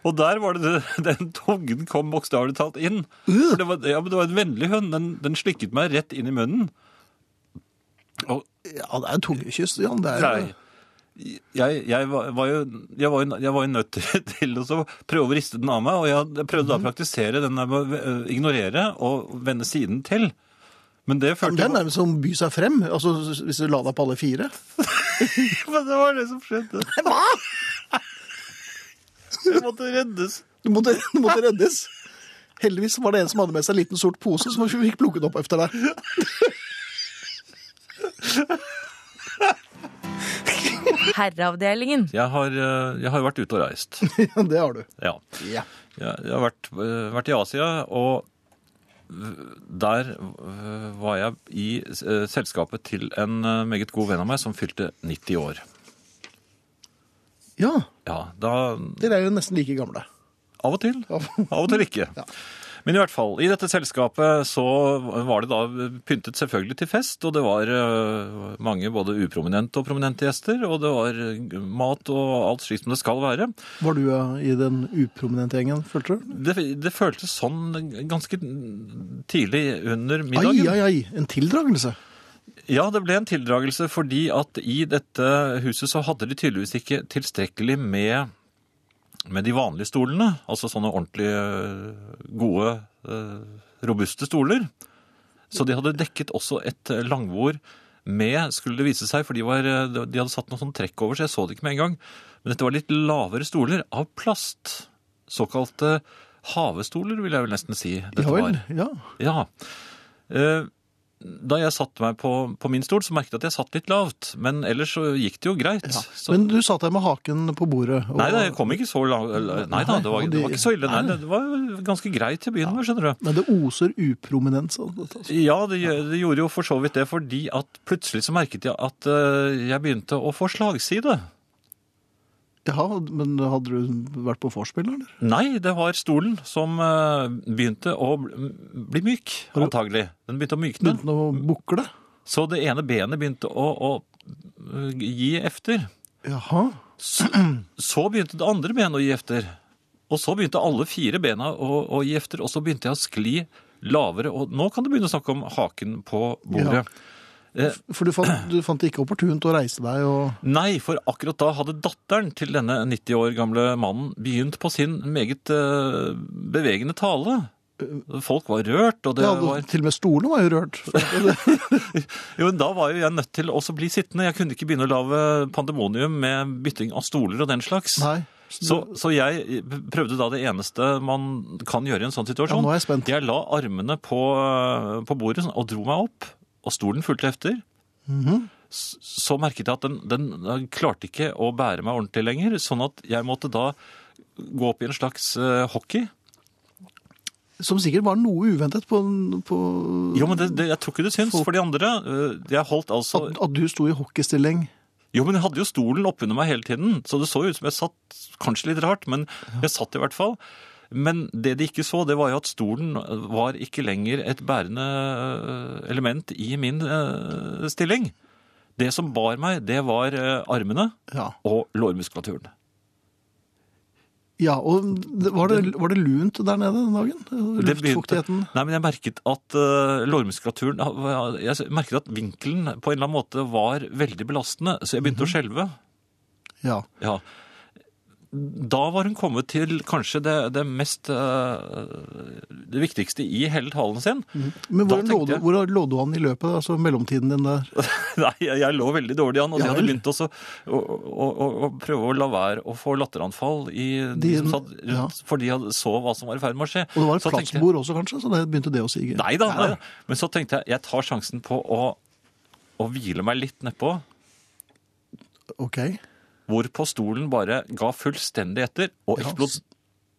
A: Og der var det den tungen kom bokstavelig talt inn.
B: Øh.
A: For det var, ja, men det var en vennlig hund. Den, den slikket meg rett inn i munnen. Og
B: Ja, det er tungekyss, Jan. Det er,
A: nei, jeg, jeg, var, var jo, jeg, var, jo- jeg var jo nødt til- til å så prøve å riste den av meg. Og jeg prøvde
B: Mhm.
A: da å praktisere den der med å eh, ignorere og vende siden til. Men det
B: det
A: følte
B: er
A: jeg
B: nærmest som by seg frem. Altså, hvis du la deg på alle fire.
A: Men det var det som skjedde. Hva?! Jeg måtte reddes.
B: Du måtte, du måtte reddes. Heldigvis var det en som hadde med seg en liten sort pose som vi fikk plukket opp etter deg.
D: Herreavdelingen.
A: Jeg har, eh, jeg har vært ute og reist.
B: Ja, det har du.
A: Ja.
B: Ja.
A: Ja, jeg har vært, øh, vært i Asia, og øh, der øh, var jeg i øh, selskapet til en øh, meget god venn av meg som fylte 90 år. Ja, da
B: Dere er jo nesten like gamle.
A: Av og til.
B: Ja.
A: Av og til ikke. Men i hvert fall, i dette selskapet så var det da pyntet selvfølgelig til fest, og det var eh, mange både uprominente og prominente gjester, og det var eh, mat og alt slik som det skal være.
B: Var du eh, i den uprominente gjengen, følte du?
A: Det, det føltes sånn ganske tidlig under
B: Ai,
A: middagen.
B: ai, ai. En tildragelse.
A: Ja, det ble en tildragelse fordi at i dette huset så hadde de tydeligvis ikke tilstrekkelig med, med de vanlige stolene. Altså sånne ordentlig øh, gode, øh, robuste stoler. Så de hadde dekket også et øh, langbord med, skulle det vise seg, for de, var, øh, de hadde satt noe sånn trekk over, så jeg så det ikke med en gang. Men dette var litt lavere stoler av plast. Såkalte havestoler, vil jeg vel nesten si. Dette
B: Ja vel.
A: var.
B: Ja.
A: Ja. Eh, Da jeg satte meg på, på min stol, så merket jeg at jeg satt litt lavt. Men ellers så gikk det jo greit. Så,
B: Men du satt der med haken på bordet. og-
A: nei da, jeg kom ikke så langt. Nei da, det var, det var ikke så ille. Nei, det var ganske greit til å begynne med, skjønner du.
B: Men det oser uprominens. av dette, altså.
A: Ja, det, gjø- det gjorde jo for så vidt det, fordi at plutselig så merket jeg at eh, jeg begynte å få slagside.
B: Jaha, men hadde du vært på vorspiel, eller?
A: Nei, det var stolen som eh, begynte å bl- bli myk, antagelig. Den begynte å mykne.
B: Begynte den å bukle?
A: Så det ene benet begynte å, å eh, gi efter.
B: Jaha.
A: Så, så begynte det andre benet å gi efter. Og så begynte alle fire bena å, å gi efter, og så begynte jeg å skli lavere. Og nå kan du begynne å snakke om haken på bordet.
B: For du fant, du fant det ikke opportunt å reise deg og
A: Nei, for akkurat da hadde datteren til denne 90 år gamle mannen begynt på sin meget eh, bevegende tale. Folk var rørt, og det
B: ja,
A: var
B: Til og med stolene var jo rørt.
A: Jo, men da var jo jeg nødt til å også bli sittende. Jeg kunne ikke begynne å lage pandemonium med bytting av stoler og den slags.
B: Nei.
A: Så, så jeg prøvde da det eneste man kan gjøre i en sånn situasjon.
B: Ja, nå er jeg spent.
A: la armene på, på bordet sånn, og dro meg opp, og stolen fulgte efter.
B: Mhm.
A: S- Så merket jeg at den, den den klarte ikke å bære meg ordentlig lenger, sånn at jeg måtte da gå opp i en slags eh, hockey.
B: Som sikkert var noe uventet på, på
A: Jo, men det, det, jeg tror ikke det syns for de andre. Eh, Jeg holdt altså
B: at, at du sto i hockeystilling.
A: Jo, men jeg hadde jo stolen oppunder meg hele tiden, så det så jo ut som jeg satt kanskje litt rart, men jeg satt i hvert fall. Men det de ikke så, det var jo at stolen var ikke lenger et bærende øh, element i min øh, stilling. Det som bar meg, det var øh, armene
B: Ja.
A: og lårmuskulaturen.
B: ja og det- var det, var det lunt der nede den dagen?
A: Det begynte-
B: Luftfuktigheten?
A: Nei, men jeg merket at øh, lårmuskulaturen Jeg merket at vinkelen på en eller annen måte var veldig belastende, så jeg
B: Mhm.
A: begynte å skjelve.
B: Ja.
A: Ja. Da var hun kommet til kanskje det, det mest eh, Det viktigste i hele talen sin.
B: Men
A: Da
B: hvordan
A: tenkte
B: lå, du,
A: jeg-
B: hvordan lå du an i løpet, altså mellomtiden din der?
A: Nei, jeg, jeg lå veldig dårlig an, og de
B: Ja
A: hadde
B: vel.
A: begynt også å, å, å, å prøve å la være å få latteranfall i de
B: De-
A: som satt rundt,
B: ja.
A: for de hadde, så hva som var i ferd med å skje.
B: Og det var et
A: Så tenkte jeg-
B: plassbord også, kanskje? Så det begynte det å sige?
A: Nei da. nei da. Men så tenkte jeg jeg tar sjansen på å, å hvile meg litt nedpå.
B: Ok.
A: Hvorpå stolen bare ga fullstendig etter, og
B: Ja.
A: eksplo-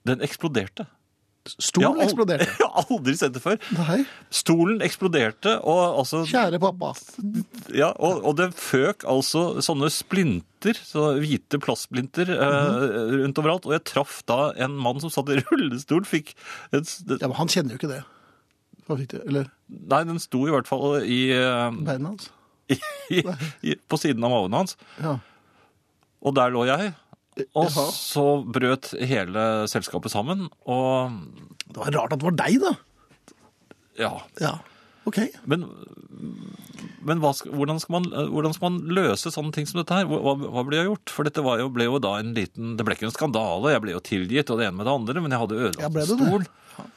A: den eksploderte.
B: Stolen
A: al-
B: eksploderte.
A: Jeg har aldri sett det før.
B: Nei.
A: Stolen eksploderte, og, altså,
B: Kjære pappa.
A: ja, og, og det føk altså sånne splinter, så hvite plastsplinter eh, rundt overalt. Og jeg traff da en mann som satt i rullestol, fikk en, s-
B: Ja, men han kjenner jo ikke det. Hva fikk du? Eller
A: Nei, den sto i hvert fall i, eh,
B: beina hans?
A: i, i, på siden av maven hans.
B: Ja.
A: Og der lå jeg. Og
B: Jaha.
A: så brøt hele selskapet sammen, og
B: Det var rart at det var deg, da.
A: ja.
B: Ja. Ok.
A: Men, men hva skal, hvordan, skal man, hvordan skal man løse sånne ting som dette her? Hva, hva ble gjort? For dette var jo, ble jo da en liten Det ble ikke en skandale, jeg ble jo tilgitt og det ene med det andre, men jeg hadde
B: Ja,
A: ødelagt
B: ble
A: en
B: du det?
A: stol.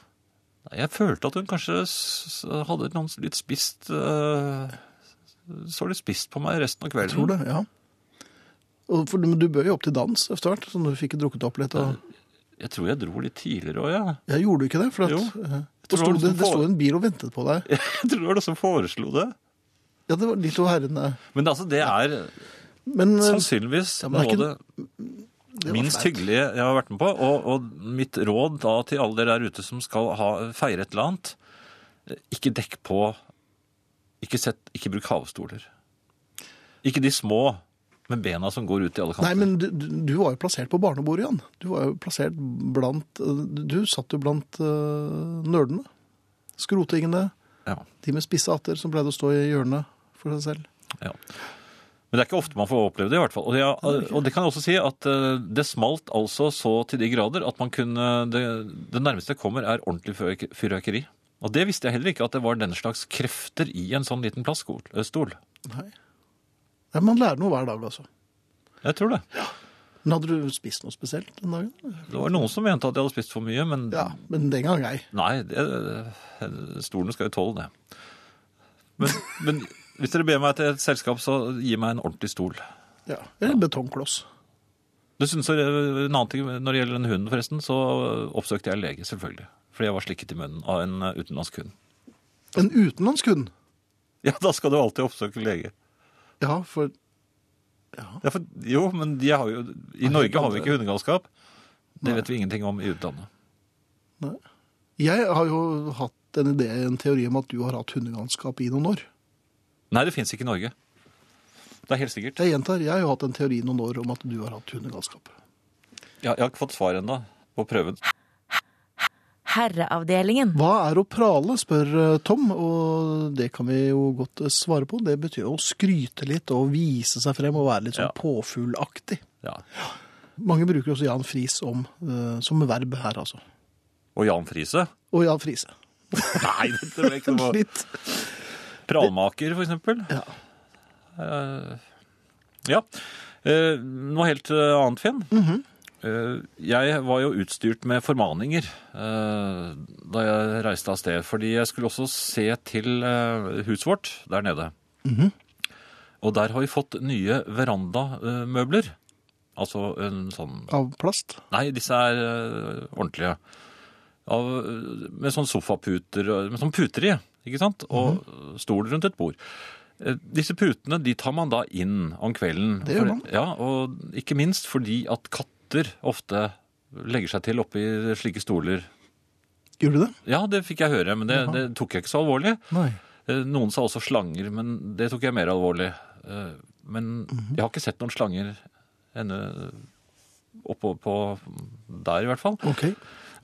A: Nei, Jeg følte at hun kanskje s- s- hadde noen litt spist eh, Så litt spist på meg resten av kvelden.
B: Tror det, ja. Og for, men du bød jo opp til dans etter hvert, så du fikk drukket opp litt. Og...
A: Jeg tror jeg dro litt tidligere òg, jeg.
B: Jeg gjorde du ikke det? For at,
A: Jo.
B: eh,
A: tror det var
B: det, sto, det,
A: noen
B: det
A: som
B: sto
A: får-
B: en bil og ventet på deg.
A: Jeg tror det var det som foreslo det.
B: Ja, det var de to herrene.
A: Men altså, det er
B: Men eh,
A: Sannsynligvis
B: Ja, men
A: noe
B: det er
A: av det minst hyggelige jeg har vært med på. Og, og mitt råd da til alle dere der ute som skal ha, feire et eller annet, eh, ikke dekk på Ikke, sett, ikke bruk havstoler. Ikke de små. med bena som går ut i alle kanter.
B: Nei, men du, du du var jo plassert på barnebordet, Jan. Du var jo plassert blant Du satt jo blant eh, nerdene. Skrotingene.
A: ja,
B: De med spisse hatter som pleide å stå i hjørnet for seg selv.
A: ja. men det er ikke ofte man får oppleve det, i hvert fall. Og det, er- og det kan jeg også si at eh, det smalt altså så til de grader at man kunne Det, det nærmeste jeg kommer, er ordentlig fyrverk- fyrverkeri. Og det visste jeg heller ikke, at det var den slags krefter i en sånn liten plaststol. stol.
B: Nei. Nei, Man lærer noe hver dag, altså.
A: Jeg tror det.
B: Men hadde du spist noe spesielt den dagen?
A: Det var noen som mente at jeg hadde spist for mye, men
B: Ja, men den gang ei.
A: Nei, det, eh, stolen skal jo tåle det. Men, men hvis dere ber meg til et selskap, så gi meg en ordentlig stol.
B: Ja. Eller betongkloss.
A: Dessuten, så, en annen ting når det gjelder den hunden, forresten, så oppsøkte jeg lege, selvfølgelig. Fordi jeg var slikket i munnen av en eh, utenlandsk hund.
B: En utenlandsk hund.
A: Ja, da skal du alltid oppsøke lege.
B: Ja, for
A: Ja, for, jo, men de har jo, i Norge har vi ikke hundegalskap. Det vet vi ingenting om i utlandet.
B: Nei. Jeg har jo hatt en idé, en teori om at du har hatt hundegalskap i noen år.
A: Nei, det fins ikke i Norge. Det er helt sikkert.
B: Jeg gjentar, jeg har jo hatt en teori i noen år om at du har hatt hundegalskap.
A: Jeg, jeg har ikke fått svar ennå på prøven.
D: Herreavdelingen.
B: Hva er å prale, spør eh, Tom, og det kan vi jo godt eh, svare på. Det betyr jo å skryte litt og vise seg frem og være litt sånn
A: Ja.
B: påfuglaktig.
A: Ja.
B: Mange bruker også Jan Friis om, eh, som verb her, altså.
A: Og Jan Friise?
B: Og Jan Friise.
A: Nei, dette ble ikke noe
B: Litt.
A: Pralmaker, for eksempel.
B: Ja.
A: Eh, ja. Eh, noe helt eh, annet, Finn. Eh, jeg var jo utstyrt med formaninger eh, da jeg reiste av sted, fordi jeg skulle også se til eh, huset vårt der nede. Og der har vi fått nye verandamøbler. altså en sånn
B: Av plast.
A: Nei, disse er øh, ordentlige. Av, øh, med sånn sofaputer, øh, med sånn puter i, ikke sant? Og
B: Mhm.
A: øh, stol rundt et bord. Eh, Disse putene de tar man da inn om kvelden.
B: Det gjør man.
A: Ja, og ikke minst fordi at katter ofte legger seg til oppi slike stoler.
B: Gjorde du det?
A: Ja, det fikk jeg høre, men det, det tok jeg ikke så alvorlig.
B: Nei.
A: Eh, Noen sa også slanger, men det tok jeg mer alvorlig. Eh, Men jeg har ikke sett noen slanger ennå oppå på der, i hvert fall.
B: Ok.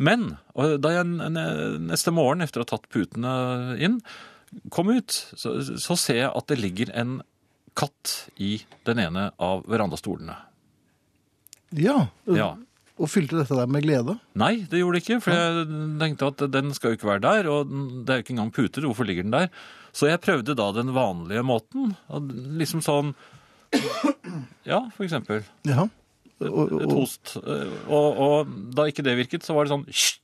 A: Men og da jeg n- n- neste morgen, etter å ha tatt putene inn, kom ut, så, så ser jeg at det ligger en katt i den ene av verandastolene.
B: Ja.
A: Ja.
B: Og fylte dette der med glede.
A: Nei, det gjorde det ikke, for jeg tenkte at den skal jo ikke være der, og den- det er jo ikke engang puter, hvorfor ligger den der? Så jeg prøvde da den vanlige måten, og liksom sånn, ja, for eksempel,
B: Ja. Og,
A: et
B: og,
A: host, og, og da ikke det virket, så var det sånn, «Hysj!»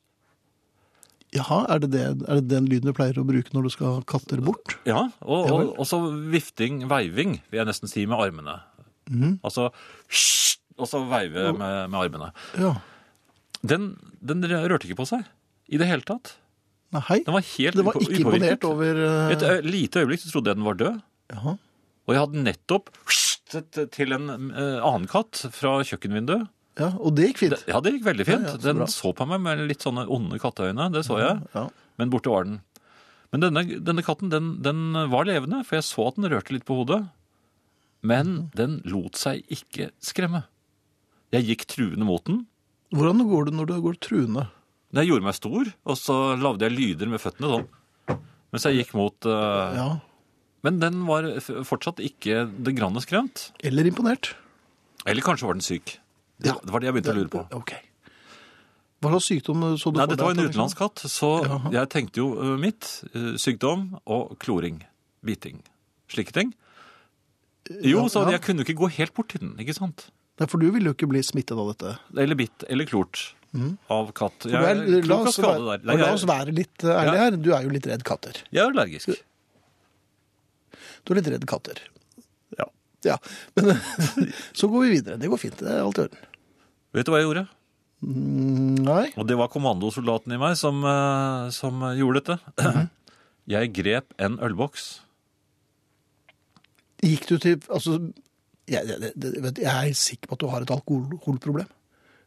B: jaha, er det, det, er det den lyden du pleier å bruke når du skal ha katter bort?
A: Ja, og,
B: Ja vel.
A: og, og så vifting, veiving, vil jeg nesten si, med armene.
B: Mhm.
A: Altså «hysj», Og så veive med, med armene.
B: Ja.
A: Den, den rørte ikke på seg i det hele tatt.
B: Nei, hei.
A: Den var helt
B: Det var
A: upo-
B: ikke imponert over eh,
A: Et ø- lite øyeblikk så trodde jeg den var død.
B: Jaha.
A: Og jeg hadde nettopp «hysjet» til en eh, annen katt fra kjøkkenvinduet.
B: Ja, og det gikk fint.
A: Ja, det gikk veldig fint.
B: Ja, ja, så
A: den
B: bra.
A: så på meg med litt sånne onde katteøyne, det så jeg.
B: Ja.
A: Men borte var den. Men denne, denne katten, den, den var levende, for jeg så at den rørte litt på hodet. Men
B: Mhm.
A: den lot seg ikke skremme. Jeg gikk truende mot den.
B: Hvordan går det når du går truende?
A: Men Jeg gjorde meg stor, og så lagde jeg lyder med føttene sånn. Mens jeg gikk mot eh,
B: Ja.
A: Men den var f- fortsatt ikke det granne skremt.
B: Eller imponert?
A: Eller kanskje var den syk. Det,
B: Ja.
A: det var det jeg begynte å lure på.
B: Ok. Hva slags sykdom eh, så du
A: Nei,
B: for
A: dette
B: deg
A: var
B: at
A: en
B: den-
A: utenlandsk katt, så jeg tenkte jo eh, mitt. eh, Sykdom og kloring. Biting. Slike ting. Jo,
B: Eh, ja,
A: så
B: ja.
A: jeg kunne jo ikke gå helt bort til den, ikke sant?
B: Nei, for du ville jo ikke bli smittet av dette.
A: Eller bitt, eller klort av katt. Jeg
B: Du
A: er
B: er- Mm. la,
A: klok av
B: oss
A: skade
B: være,
A: der. Nei,
B: la oss
A: jeg,
B: være litt eh, ærlige her. Du er jo litt redd katter.
A: jeg er allergisk.
B: Du er litt redd katter. Ja. ja. Men eh, så går vi videre. Det går fint. Det er alt i orden.
A: Vet du hva jeg gjorde?
B: Mm, Nei.
A: Og det var kommandosoldaten i meg som, eh, som gjorde dette.
B: Mhm.
A: Jeg grep en ølboks.
B: Gikk du til Altså, jeg, jeg, jeg, vet, jeg er sikker på at du har et alkoholproblem.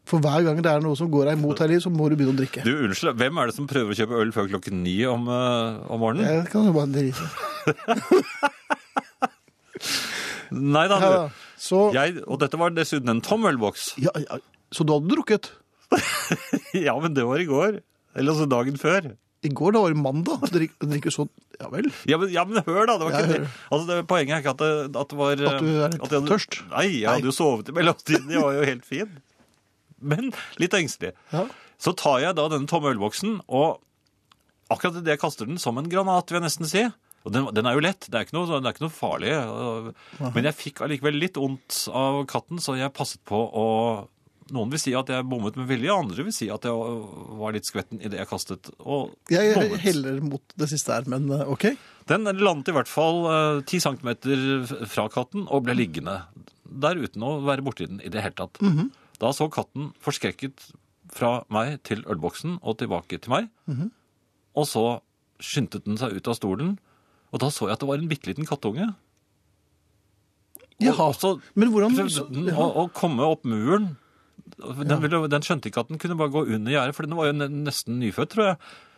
B: For hver gang det er noe som går deg imot her i, livet, så må du begynne å drikke.
A: Du, unnskyld, hvem er det som prøver å kjøpe øl før klokken ni om, eh, om morgenen?
B: Jeg kan jo bare drite.
A: Nei da,
B: Ja,
A: du.
B: Så, ja,
A: Jeg, og dette var dessuten en tommelboks.
B: ja, så du hadde drukket?
A: Ja, men det var i går. Eller altså dagen før.
B: I går, det var det mandag. Du drik- du drikker sånn Ja vel.
A: Ja, men, ja, men hør, da! Det var
B: Jeg
A: ikke det. Altså, det, poenget er ikke at det, at det var
B: At du er litt
A: jeg hadde,
B: tørst?
A: Nei, jeg
B: Nei.
A: hadde jo sovet i mellomtiden. Jeg var jo helt fin. Men litt engstelig.
B: Ja.
A: Så tar jeg da denne tomme ølboksen, og akkurat idet jeg kaster den, som en granat, vil jeg nesten si. Og den, den er jo lett, det er ikke noe, den er ikke noe farlig. Men jeg fikk allikevel litt vondt av katten, så jeg passet på å Noen vil si at jeg bommet med vilje, andre vil si at jeg var litt skvetten idet jeg kastet og
B: Jeg
A: bommet.
B: heller mot det siste her, men eh, OK.
A: Den landet i hvert fall eh, 10 centimeter f- fra katten og ble liggende der uten å være borti den i det hele tatt.
B: Mhm.
A: Da så katten forskrekket fra meg til ølboksen og tilbake til meg.
B: Mhm.
A: Og så skyndte den seg ut av stolen, og da så jeg at det var en bitte liten kattunge.
B: Jaha.
A: Og så
B: Men hvordan så,
A: prøvde den
B: ja.
A: å, å komme opp muren. Den, ville, den skjønte ikke at den kunne bare gå under gjerdet, for den var jo ne- nesten nyfødt, tror jeg.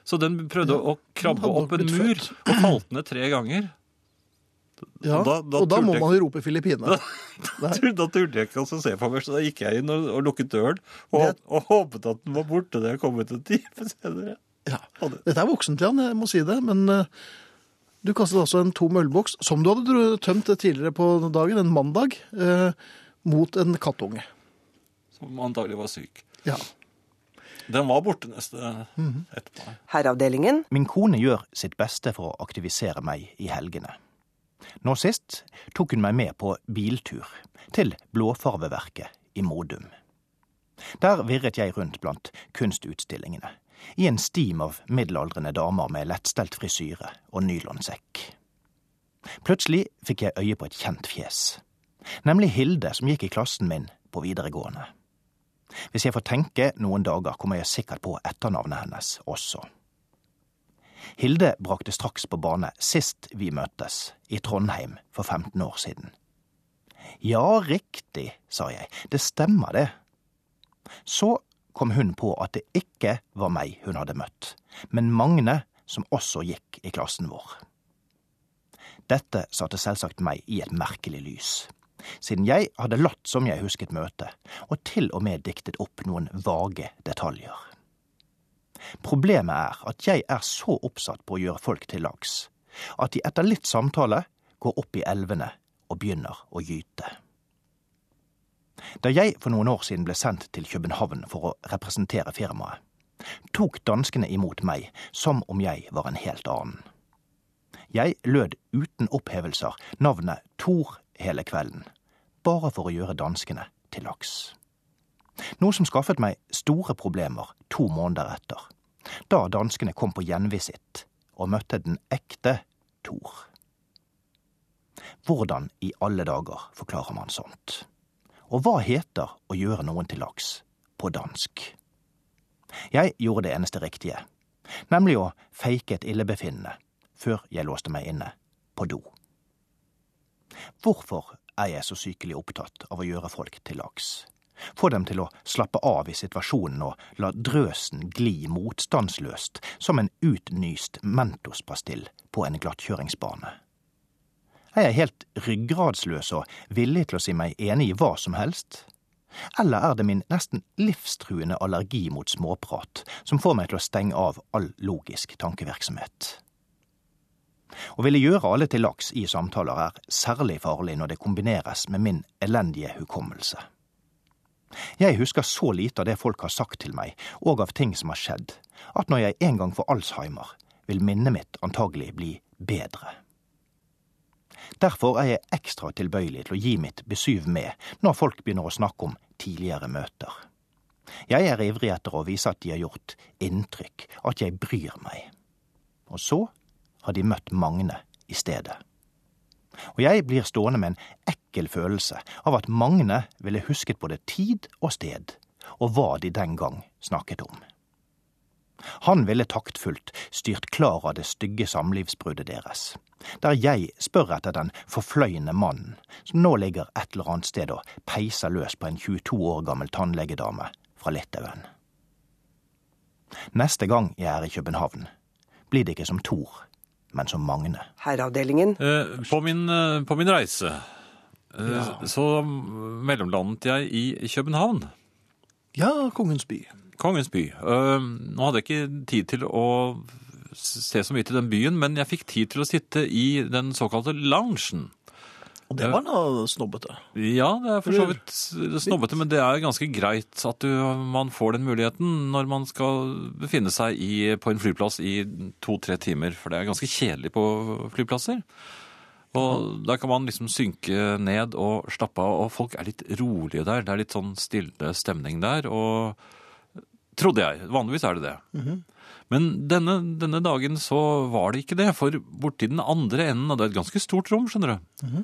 A: Så den prøvde å krabbe
B: hadde nok
A: opp en
B: blitt
A: mur
B: født.
A: og falt ned tre ganger.
B: Ja,
A: Og da- da
B: og da
A: turte
B: må
A: jeg-
B: man jo rope 'Filippine'. Nei.
A: Tur- Da turte jeg ikke altså se på meg, så da gikk jeg inn og, og lukket døren og,
B: Det-
A: og håpet at den var borte da jeg kom ut en time senere. Og det-
B: Dette er voksent, Jan, jeg må si det, men eh, du kastet altså en tom ølboks, som du hadde dro- tømt tidligere på dagen, en mandag, eh, mot en kattunge.
A: Som antagelig var syk.
B: Ja.
A: Den var borte neste
B: Mhm.
A: etterpå.
C: Herreavdelingen.
F: Min kone gjør sitt beste for å aktivisere meg i helgene. Nå sist tok hun meg med på biltur til Blåfarveverket i Modum. Der virret jeg rundt blant kunstutstillingene, i en stim av middelaldrende damer med lettstelt frisyre og nylonsekk. Plutselig fikk jeg øye på et kjent fjes, nemlig Hilde som gikk i klassen min på videregående. Hvis jeg får tenke noen dager, kommer jeg sikkert på etternavnet hennes også. Hilde brakte straks på bane sist vi møttes, i Trondheim for 15 år siden. Ja, riktig, sa jeg, det stemmer det. Så kom hun på at det ikke var meg hun hadde møtt, men Magne, som også gikk i klassen vår. Dette satte selvsagt meg i et merkelig lys, siden jeg hadde latt som jeg husket møtet, og til og med diktet opp noen vage detaljer. Problemet er at jeg er så oppsatt på å gjøre folk til lags at de etter litt samtale går opp i elvene og begynner å gyte. Da jeg for noen år siden ble sendt til København for å representere firmaet, tok danskene imot meg som om jeg var en helt annen. Jeg lød uten opphevelser navnet Thor hele kvelden, bare for å gjøre danskene til lags noe som skaffet meg store problemer to måneder etter, da danskene kom på gjenvisitt og møtte den ekte Thor. Hvordan i alle dager forklarer man sånt? Og hva heter å gjøre noen til laks på dansk? Jeg gjorde det eneste riktige, nemlig å fake et illebefinnende før jeg låste meg inne på do. Hvorfor er jeg så sykelig opptatt av å gjøre folk til laks? Få dem til å slappe av i situasjonen og la drøsen gli motstandsløst som en utnyst mentospastill på en glattkjøringsbane. Er jeg helt ryggradsløs og villig til å si meg enig i hva som helst? Eller er det min nesten livstruende allergi mot småprat som får meg til å stenge av all logisk tankevirksomhet? Å ville gjøre alle til laks i samtaler er særlig farlig når det kombineres med min elendige hukommelse. Jeg husker så lite av det folk har sagt til meg, og av ting som har skjedd, at når jeg en gang får Alzheimer, vil minnet mitt antagelig bli bedre. Derfor er jeg ekstra tilbøyelig til å gi mitt besyv med når folk begynner å snakke om tidligere møter. Jeg er ivrig etter å vise at de har gjort inntrykk, at jeg bryr meg. Og så har de møtt Magne i stedet. Og jeg blir stående med en ekkel følelse av at Magne ville husket både tid og sted, og hva de den gang snakket om. Han ville taktfullt styrt klar av det stygge samlivsbruddet deres, der jeg spør etter den forfløyende mannen som nå ligger et eller annet sted og peiser løs på en 22 år gammel tannlegedame fra Litauen. Neste gang jeg er i København, blir det ikke som Thor, men som Magne.
C: Herreavdelingen.
A: Eh, På min, eh, på min reise Eh, Så mellomlandet jeg i København,
B: Ja, Kongens by.
A: Kongens by. Eh, Nå hadde jeg ikke tid til å se så mye til den byen, men jeg fikk tid til å sitte i den såkalte loungen.
B: Og det var da snobbete.
A: Ja, det er for så vidt snobbete, men det er ganske greit at du, man får den muligheten når man skal befinne seg i, på en flyplass i to-tre timer, for det er ganske kjedelig på flyplasser. Og der kan man liksom synke ned og slappe av, og folk er litt rolige der. Det er litt sånn stille stemning der, og trodde jeg. Vanligvis er det det. Men denne, denne dagen så var det ikke det, for borti den andre enden, og det er et ganske stort rom, skjønner du.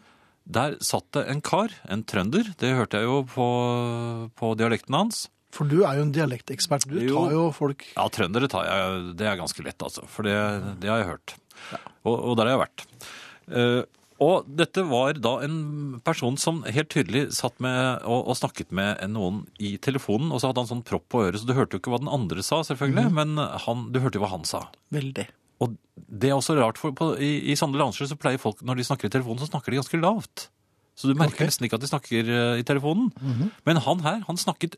A: Der satt det en kar, en trønder, det hørte jeg jo på, på dialekten hans.
B: For du er jo en dialektekspert. Du
A: Jo.
B: tar jo folk
A: Ja, trøndere tar jeg, det er ganske lett altså, for det, det har jeg hørt. Og, og der har jeg vært. Eh, og dette var da en person som helt tydelig satt med og, og snakket med noen i telefonen, og så hadde han sånn propp på øret, så du hørte jo ikke hva den andre sa selvfølgelig, men han, du hørte jo hva han sa.
B: veldig.
A: Og det er også rart, for på, i, i sånne bransjer så pleier folk, når de snakker i telefonen, så snakker de ganske lavt. Så du merker nesten ikke at de snakker eh, i telefonen. Men han her, han snakket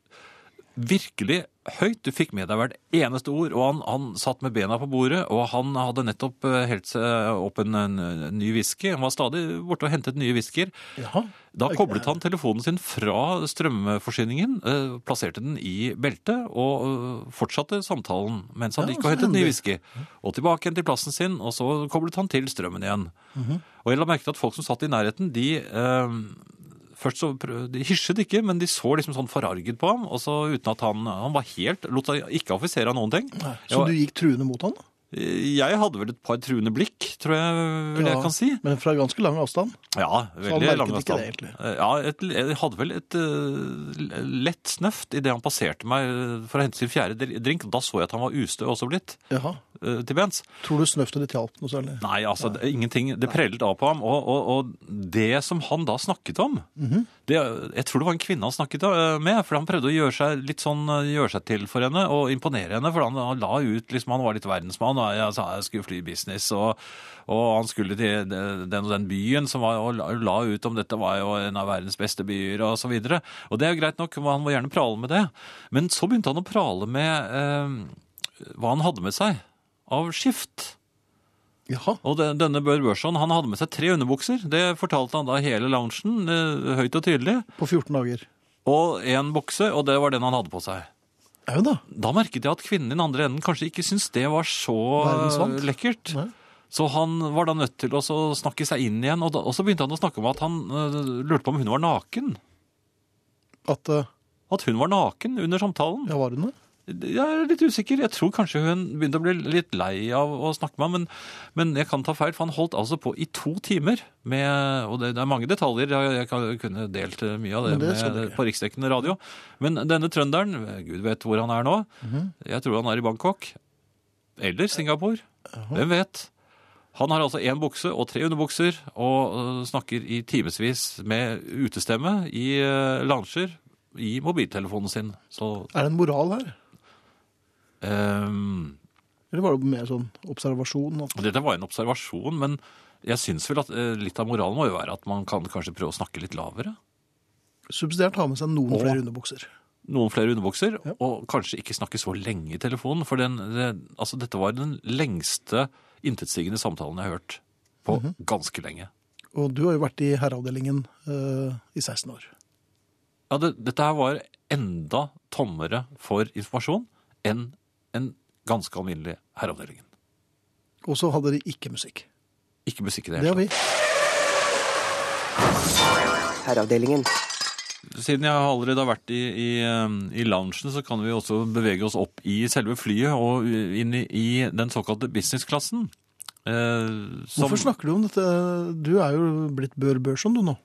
A: virkelig høyt. Du fikk med deg hvert eneste ord, og han, han satt med bena på bordet, og han hadde nettopp eh, helt seg opp en, en, en ny whisky. Han var stadig borte og hentet nye whiskyer.
B: Jaha.
A: Da koblet han telefonen sin fra strømforsyningen, eh, plasserte den i beltet og eh, fortsatte samtalen mens han
B: Ja,
A: gikk og
B: så
A: hentet ny
B: hendig.
A: whisky. Og tilbake igjen til plassen sin, og så koblet han til strømmen igjen.
B: Mhm.
A: Og jeg la merke til at folk som satt i nærheten, de eh, Først så prø- de hysjet ikke, men de så liksom sånn forarget på ham. Og så uten at han Han var helt Lot seg ikke affisere av noen ting.
B: Nei,
A: Jeg
B: Så
A: var- eh,
B: du gikk truende mot han?
A: Jeg hadde vel et par truende blikk, tror jeg vel jeg kan si.
B: Men fra ganske lang avstand.
A: Ja,
B: han
A: veldig
B: merket
A: lang
B: ikke
A: avstand.
B: det egentlig?
A: Eh, Ja, et, jeg hadde vel et eh, lett snøft idet han passerte meg eh, for å hente sin fjerde dr- drink. Da så jeg at han var ustø også blitt
B: Jaha.
A: eh, til bens.
B: Tror du snøftet ditt hjalp noe særlig?
A: Nei, altså, det, ingenting. Det prellet av på ham. Og, og, og det som han da snakket om det, Jeg tror det var en kvinne han snakket eh, med, for han prøvde å gjøre seg litt sånn, eh, gjøre seg til for henne og imponere henne. For han, han la ut liksom, Han var litt verdensmann. og Jeg sa jeg skulle fly business, og, og han skulle til den og den byen, som var, og la, la ut om dette var jo en av verdens beste byer, og så videre. Og det er jo greit nok, han må gjerne prale med det. Men så begynte han å prale med eh, hva han hadde med seg av skift.
B: Jaha.
A: Og den, denne Bør Børson han hadde med seg tre underbukser. Det fortalte han da hele loungen, eh, høyt og tydelig.
B: På 14 dager.
A: Og én bukse, og det var den han hadde på seg.
B: Au da.
A: Da merket jeg at kvinnen i den andre enden kanskje ikke syntes det var så
B: Verdensvant.
A: eh, lekkert.
B: Nei.
A: Så han var da nødt til å så snakke seg inn igjen, og, da, og så begynte han å snakke om at han eh, lurte på om hun var naken.
B: At eh,
A: At hun var naken under samtalen.
B: Ja, var hun det?
A: Jeg er litt usikker. Jeg tror kanskje hun begynte å bli litt lei av å snakke med ham, men, men jeg kan ta feil, for han holdt altså på i to timer med Og det, det er mange detaljer, jeg, jeg kan, kunne delt eh, mye av det,
B: Men det skal du
A: med,
B: ikke.
A: på riksdekkende radio. Men denne trønderen, gud vet hvor han er nå.
B: Mhm.
A: Jeg tror han er i Bangkok. Eller Singapore. Hvem vet? Han har altså én bukse og tre underbukser, og øh, snakker i timevis med utestemme i uh, lounger i mobiltelefonen sin. Så
B: Er det en moral her?
A: Ehm,
B: Eller var det mer sånn observasjon? At,
A: og dette var en observasjon, men jeg syns vel at eh, litt av moralen må jo være at man kan kanskje prøve å snakke litt lavere.
B: subsidiært ha med seg noen
A: Å.
B: flere underbukser.
A: Noen flere underbukser, og kanskje ikke snakke så lenge i telefonen. For den, det, altså, dette var den lengste intetsigende samtalen jeg har hørt på ganske lenge.
B: Og du har jo vært i herreavdelingen eh, i 16 år.
A: Ja, det, dette her var enda tommere for informasjon enn en ganske alminnelig herreavdelingen.
B: Og så hadde de ikke musikk.
A: Ikke musikk i det
B: Det har
A: hele tatt.
B: vi.
C: Herreavdelingen.
A: Siden jeg allerede har vært i, i, eh, i loungen, så kan vi også bevege oss opp i selve flyet og inn i, i den såkalte businessklassen. Eh, som-
B: Hvorfor snakker du om dette? Du er jo blitt Bør Børson, du nå.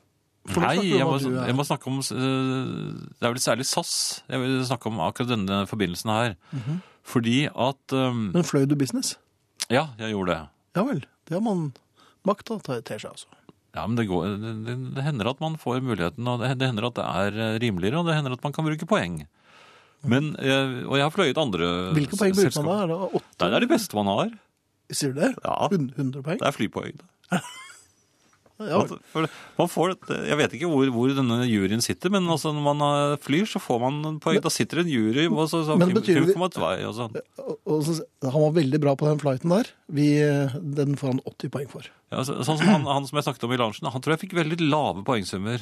B: Hvorfor
A: Nei,
B: snakker du om
A: jeg må,
B: at du er-
A: jeg må snakke om eh, Det er vel særlig SAS jeg vil snakke om akkurat denne forbindelsen her.
B: Mhm.
A: Fordi at eh,
B: Men fløy du business?
A: Ja, jeg gjorde det.
B: Ja vel. Det har man makt til å ta til seg, altså.
A: Ja, men det, går, det, det- det hender at man får muligheten, og det, det hender at det er eh, rimeligere, og det hender at man kan bruke poeng. Men, eh, Og jeg har fløyet andre
B: Mhm. Hvilke poeng bruker man
A: selskaper.
B: da? Er det åtte?
A: Nei, det er de beste man har.
B: Sier du det?
A: Ja.
B: 100 poeng?
A: Det er flypoeng. da.
B: Ja.
A: At- Altså, for Man får, et- jeg vet ikke hvor, hvor denne juryen sitter, men altså når man eh, flyr, så får man en poeng. Da sitter en jury og så, så,
B: Men
A: fly-
B: betyr det-
A: fly- får man et vei og sånn.
B: Og, og så, han var veldig bra på den flighten der. Vi, den får han 80 poeng for.
A: Ja, så, sånn som han, han som jeg snakket om i lunsjen, han tror jeg fikk veldig lave poengsummer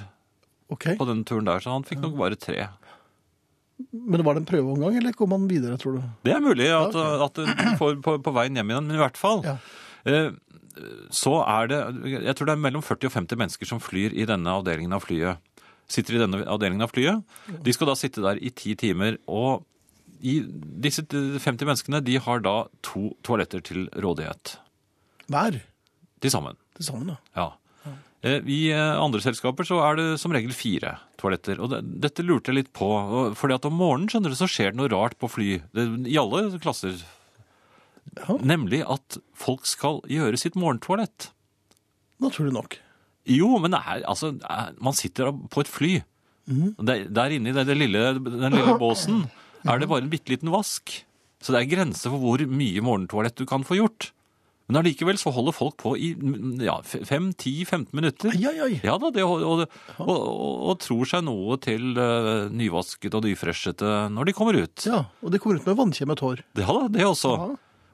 B: Ok,
A: på den turen der, så han fikk nok bare tre.
B: Men var det en prøveomgang, eller kom han videre, tror du?
A: Det er mulig at, at du får på, på veien hjem igjen, men i hvert fall
B: Ja.
A: eh, så er det Jeg tror det er mellom 40 og 50 mennesker som flyr i denne avdelingen av flyet. Sitter i denne avdelingen av flyet. De skal da sitte der i ti timer. Og i, disse 50 menneskene de har da to toaletter til rådighet.
B: Hver
A: Til sammen.
B: til sammen, ja.
A: Ja. Eh, I eh, andre selskaper så er det som regel fire toaletter. Og det, dette lurte jeg litt på. og- fordi at om morgenen skjønner du, så skjer det noe rart på fly. Det, I alle klasser. Nemlig at folk skal gjøre sitt morgentoalett.
B: Naturlig nok.
A: Jo, men det er, altså, det er- man sitter på et fly. Der, der inne i det, det lille, den lille båsen er det bare en bitte liten vask. Så det er grenser for hvor mye morgentoalett du kan få gjort. Men allikevel så holder folk på i ja, 5-10-15 minutter.
B: Ai, ai, ai.
A: Ja da, det, og, og, og, og, og tror seg noe til eh, nyvasket og nyfreshete når de kommer ut.
B: Ja, Og de kommer ut med vannkjemmet hår.
A: Ja da, det også.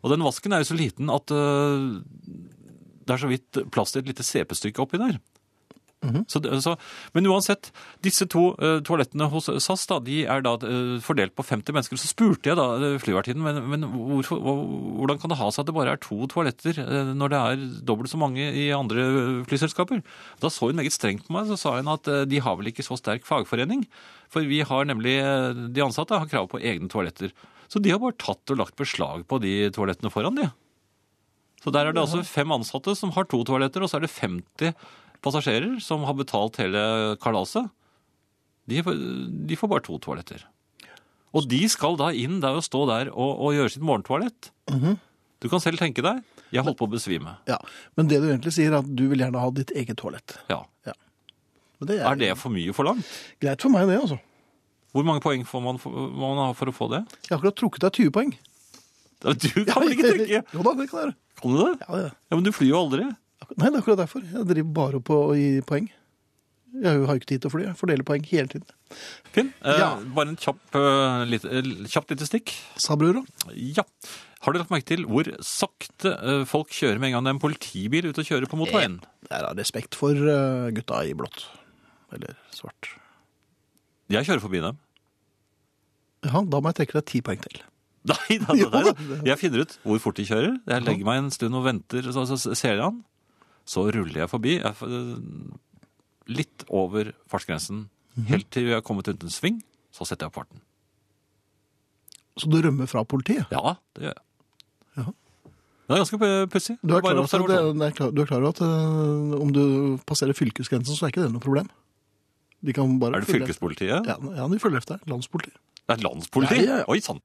A: Og den vasken er jo så liten at øh, det er så vidt plass til et lite CP-stykke oppi der. så, det- så, men uansett, disse to øh, toalettene hos SAS da, de er da øh, fordelt på 50 mennesker. Så spurte jeg da øh, flyvertinnen, men, men hvorfor, hvor- hvordan kan det ha seg at det bare er to toaletter øh, når det er dobbelt så mange i andre øh, flyselskaper? Da så hun meget strengt på meg, så sa hun at øh, de har vel ikke så sterk fagforening, for vi har nemlig, øh, de ansatte har krav på egne toaletter. Så de har bare tatt og lagt beslag på de toalettene foran de. Så der er det altså fem ansatte som har to toaletter, og så er det 50 passasjerer som har betalt hele kalaset. De, de får bare to toaletter. Og de skal da inn der og stå der og, og gjøre sitt morgentoalett.
B: Mhm.
A: Du kan selv tenke deg. Jeg holdt på å besvime.
B: Ja, Men det du egentlig sier, er at du vil gjerne ha ditt eget toalett.
A: Ja.
B: Men det er,
A: Er det for mye forlangt?
B: greit for meg, det, altså.
A: Hvor mange poeng får man, for, må man ha for å få det?
B: Jeg har akkurat trukket deg 20 poeng.
A: Du kan vel ikke trykke?
B: Jo da, det kan jeg gjøre.
A: Kan du det?
B: Ja, det er.
A: Ja, Men du flyr jo aldri.
B: Akkur- Nei, det er akkurat derfor. Jeg driver bare på å gi poeng. Jeg har jo ikke tid til å fly. Jeg fordeler poeng hele tiden.
A: Finn, eh,
B: Ja.
A: bare en kjapp, eh, lite- eh, kjapt lite stikk.
B: Sa brura.
A: Ja. Har du lagt merke til hvor sakte eh, folk kjører med en gang det er en politibil ute og kjører på motorveien?
B: Det er av respekt for eh, gutta i blått. Eller svart.
A: Jeg kjører forbi dem.
B: Ja, da må jeg trekke deg ti poeng til.
A: Nei, da, da, da, da. Jeg finner ut hvor fort de kjører. Jeg legger meg en stund og venter, så, så ser jeg han. Så ruller jeg forbi. Jeg, eh, litt over fartsgrensen.
B: Mhm.
A: Helt til vi har kommet rundt en sving, så setter jeg opp farten.
B: Så du rømmer fra politiet?
A: Ja, det gjør jeg.
B: Ja.
A: Det er ganske eh, pussig.
B: Du er,
A: Bare sånn.
B: klar,
A: en
B: over at
A: observasjon.
B: det, det er klar, du er klar over at eh, om du passerer fylkesgrensen, så er ikke det noe problem? De kan bare
A: Er det
B: følge-
A: fylkespolitiet?
B: Ja, ja, de følger etter deg. Landspolitiet.
A: Det er landspoliti?
B: Ja, ja, ja.
A: Oi sann.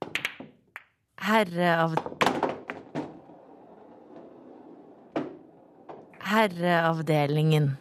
D: Herreav... Herreavdelingen.